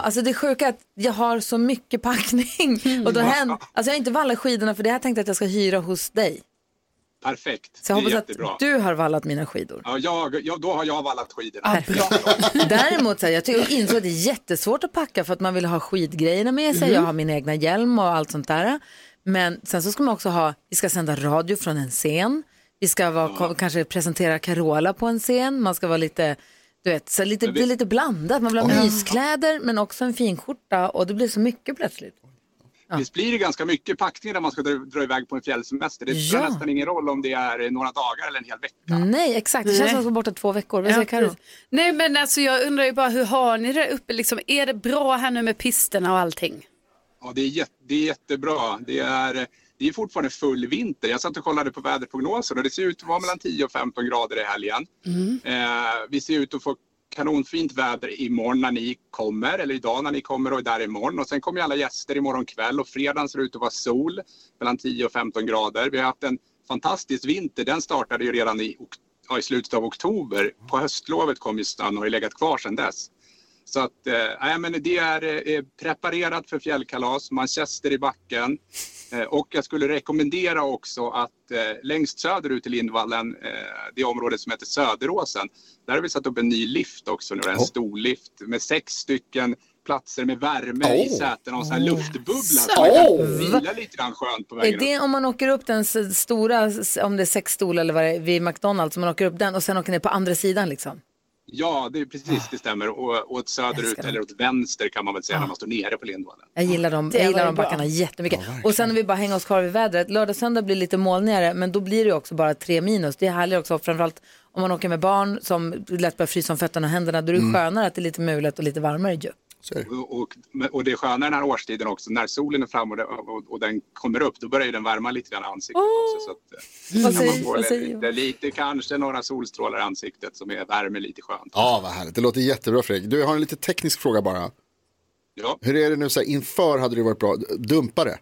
Speaker 1: alltså det sjuka är att jag har så mycket
Speaker 15: *laughs*
Speaker 1: packning.
Speaker 15: Mm.
Speaker 1: Och då händer, alltså jag har inte vallat skidorna för det här tänkte jag att jag ska hyra hos dig.
Speaker 15: Perfekt.
Speaker 1: Så jag
Speaker 15: det är
Speaker 1: hoppas
Speaker 15: jättebra.
Speaker 1: att du har vallat mina skidor.
Speaker 15: Ja, jag, jag, då har jag vallat skidorna.
Speaker 1: Däremot så här, jag tycker, jag insåg att det är jättesvårt att packa för att man vill ha skidgrejerna med sig.
Speaker 15: Mm.
Speaker 1: Jag har min egna hjälm och allt sånt där. Men sen så ska man också ha, vi ska sända radio från en scen. Vi ska vara, ko- kanske presentera Carola på en scen. Man ska vara lite, du vet, så lite,
Speaker 15: Men
Speaker 1: det
Speaker 15: vi-
Speaker 1: är lite blandat. Man vill ha myskläder men också en finskjorta och det blir så mycket plötsligt.
Speaker 15: Visst blir det ganska mycket packning när man ska dra, dra iväg på en fjällsemester? Det spelar
Speaker 1: Ja.
Speaker 15: nästan ingen roll om det är eh, några dagar eller en hel vecka.
Speaker 1: Nej, exakt. Det känns
Speaker 2: Nej.
Speaker 1: som att vara borta två veckor. Vad
Speaker 2: Ja,
Speaker 1: säger Karo?
Speaker 2: precis. Nej men alltså jag undrar ju bara hur har ni det uppe liksom? Är det bra här nu med pisterna och allting?
Speaker 15: Ja, det, är jätte, det är jättebra. Det är, det är fortfarande full vinter. Jag satt och kollade på väderprognosen och det ser ut att vara mellan 10 och 15 grader i helgen.
Speaker 2: Mm.
Speaker 15: Eh, vi ser ut att få kanonfint väder imorgon när ni kommer, eller idag när ni kommer och är där imorgon. Och sen kommer ju alla gäster imorgon kväll och fredagen ser ut att vara sol mellan 10 och 15 grader. Vi har haft en fantastisk vinter. Den startade ju redan i, ok- ja, i slutet av oktober. På höstlovet kom ju snön och har ju legat kvar sedan dess. Så att, eh, nej, men det är eh, preparerat för fjällkalas, Manchester i backen. Eh, och jag skulle rekommendera också att eh, längst söderut i Lindvallen, eh, det område som heter Söderåsen, där har vi satt upp en ny lift också nu, en stor lift med sex stycken platser med värme i
Speaker 1: Åh.
Speaker 15: sätena och så här
Speaker 1: Åh.
Speaker 15: luftbubbla. Så
Speaker 1: Åh.
Speaker 15: man kan vila lite grann skönt på
Speaker 1: Är
Speaker 15: vägen
Speaker 1: det
Speaker 15: upp.
Speaker 1: om man åker upp den s- stora, s- om det är sex stolar eller vad det är, vid McDonalds, om man åker upp den och sen åker ner på andra sidan liksom?
Speaker 15: Ja, det är precis, det stämmer. Och, åt söderut eller åt vänster kan man väl säga när man står nere på Lindvallen.
Speaker 1: Jag gillar de,
Speaker 15: Det
Speaker 1: jag
Speaker 15: var
Speaker 1: gillar
Speaker 15: ju
Speaker 1: de
Speaker 15: bra.
Speaker 1: backarna jättemycket. och sen om vi bara hänger oss kvar vid vädret, lördag och söndag blir lite molnigare men då blir det ju också bara tre minus. Det är härligt också, framförallt om man åker med barn som lätt börjar frysa om fötterna och händerna, då är det
Speaker 15: Mm.
Speaker 1: skönare att det är lite mulet och lite varmare ju.
Speaker 15: Och, och, och det sköna den här årstiden också, när solen är framme och, den- och, och den kommer upp, då börjar ju den värma lite grann i ansiktet också. Så att, eh,
Speaker 1: Vad
Speaker 15: kan man
Speaker 1: säger-
Speaker 15: få
Speaker 1: vad
Speaker 15: lite-
Speaker 1: säger
Speaker 15: lite, lite, kanske några solstrålar i ansiktet som är, värmer lite skönt.
Speaker 4: Ja, vad härligt. Det låter jättebra Fredrik. Du, jag har en lite teknisk fråga bara.
Speaker 15: Ja.
Speaker 4: Hur är det nu så här, inför hade det varit bra, dumpa det?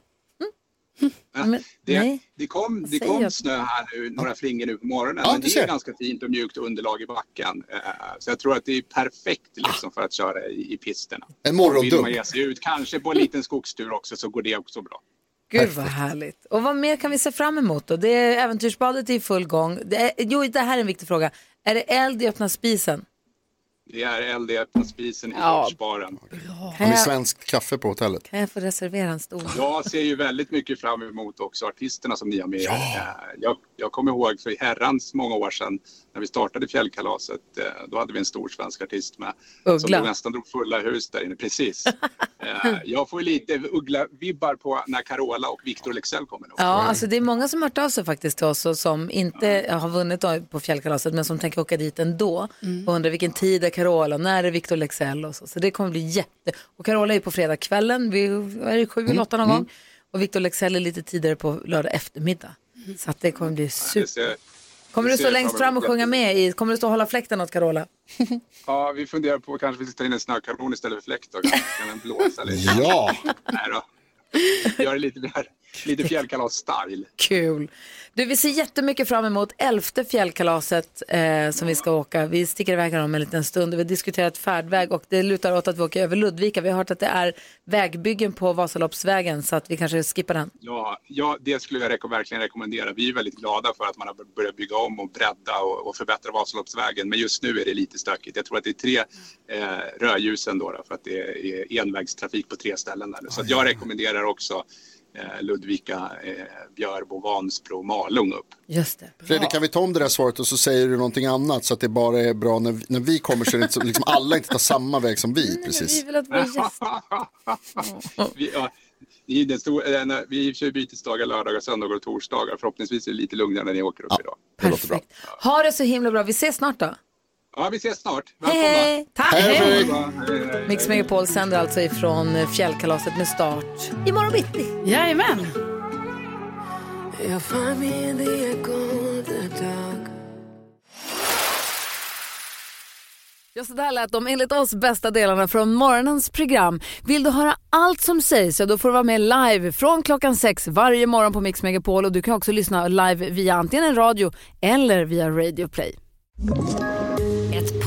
Speaker 15: Det, det kom, det
Speaker 4: säger
Speaker 15: kom
Speaker 4: jag?
Speaker 15: snö här nu, några flingor nu på morgonen,
Speaker 4: Ja,
Speaker 15: men
Speaker 4: du
Speaker 15: det
Speaker 4: ser.
Speaker 15: är ganska fint och mjukt underlag i backen. Eh, Så jag tror att det är perfekt liksom för att köra i, i pisterna.
Speaker 4: En morgondump.
Speaker 15: Vill man ge sig ut, kanske
Speaker 4: Mm.
Speaker 15: på en liten skogstur också, så går det också bra.
Speaker 1: Gud vad härligt. Och vad mer kan vi se fram emot då? Det är äventyrsbadet är i full gång. Det är, jo, det här är en viktig fråga. Är det eld i öppna spisen?
Speaker 15: Det är eld i öppna spisen i
Speaker 1: Ja.
Speaker 15: Svartsbaren.
Speaker 4: Har ni svenskt kaffe på hotellet?
Speaker 1: Kan jag få reservera en stol?
Speaker 15: Jag ser ju väldigt mycket fram emot också artisterna som ni har med er. Eh, Jag, jag kommer ihåg för herrans många år sedan när vi startade Fjällkalaset. eh, Då hade vi en stor svensk artist med. Som
Speaker 1: Uggla.
Speaker 15: drog- nästan drog fulla hus där inne. Precis. Eh, jag får ju lite Uggla-vibbar på när Carola och Victor Leksell kommer. nu.
Speaker 1: Ja, alltså det är många som har hört av sig faktiskt till oss och som inte har vunnit då på fjällkalaset men som tänker åka dit ändå
Speaker 15: Mm.
Speaker 1: och undrar vilken tid är Carola, när är Viktor Lexell och så. Så det kommer bli jätte... Och Carola är ju på fredagskvällen, vi är det sju
Speaker 15: Mm.
Speaker 1: eller åtta någon gång. Och Viktor Lexell är lite tidigare på lördag eftermiddag. Så att det kommer bli
Speaker 15: Det
Speaker 1: super...
Speaker 15: ser,
Speaker 1: Kommer du
Speaker 15: Mm. Det
Speaker 1: stå
Speaker 15: ser jag
Speaker 1: längst
Speaker 15: fram
Speaker 1: fram och
Speaker 15: emot.
Speaker 1: sjunga med i? Kommer du stå och hålla fläkten åt Carola?
Speaker 15: Ja, vi funderar på kanske vi ska ta in en snökanon istället för fläkt. Då. Kan den blåsa lite?
Speaker 1: Ja.
Speaker 15: Nej då. Gör det lite, mer- lite fjällkalas-style.
Speaker 1: Kul. Du, vi ser jättemycket fram emot elfte fjällkalaset eh, som vi ska åka. Vi sticker iväg här om en liten stund och vi har diskuterat färdväg och det lutar åt att vi åker över Ludvika. Vi har hört att det är vägbyggen på Vasaloppsvägen så att vi kanske skippar den.
Speaker 15: Ja, ja, det skulle jag reko- verkligen rekommendera. Vi är väldigt glada för att man har börjat bygga om och bredda och, och förbättra Vasaloppsvägen. Men just nu är det lite stökigt. Jag tror att det är tre eh, rödljus ändå då, för att det är envägstrafik på tre ställen där nu. Så att jag rekommenderar också eh, Ludvika, eh, Björbo, Vansbro, Malung upp.
Speaker 1: Just det.
Speaker 4: Fredrik, kan vi ta om det där svaret och så säger du någonting annat så att det bara är bra när, vi- när vi kommer så är det inte så- liksom alla inte tar samma väg som vi precis.
Speaker 1: vill att våra gäster...
Speaker 15: vi, ja, det är ju den stor, eh, när- vi kör bytesdagar lördagar, söndagar och torsdagar. Förhoppningsvis är det lite lugnare när ni åker upp idag.
Speaker 1: Det låter bra. Ha det så himla bra. Vi ses snart då.
Speaker 15: Ja, vi ses snart.
Speaker 1: Hej, hej. Tack.
Speaker 15: Hej,
Speaker 1: Hej.
Speaker 15: Hej, hej.
Speaker 1: Mix Megapol sänder alltså ifrån fjällkalaset med start imorgon bitti.
Speaker 2: Jajamän.
Speaker 13: Jag för mig in i en god dag
Speaker 1: Ja, så där lät de enligt oss bästa delarna från morgonens program. Vill du höra allt som sägs så då får du vara med live från klockan sex varje morgon på Mix Megapol och du kan också lyssna live via antingen en radio eller via Radio Play.
Speaker 16: Ett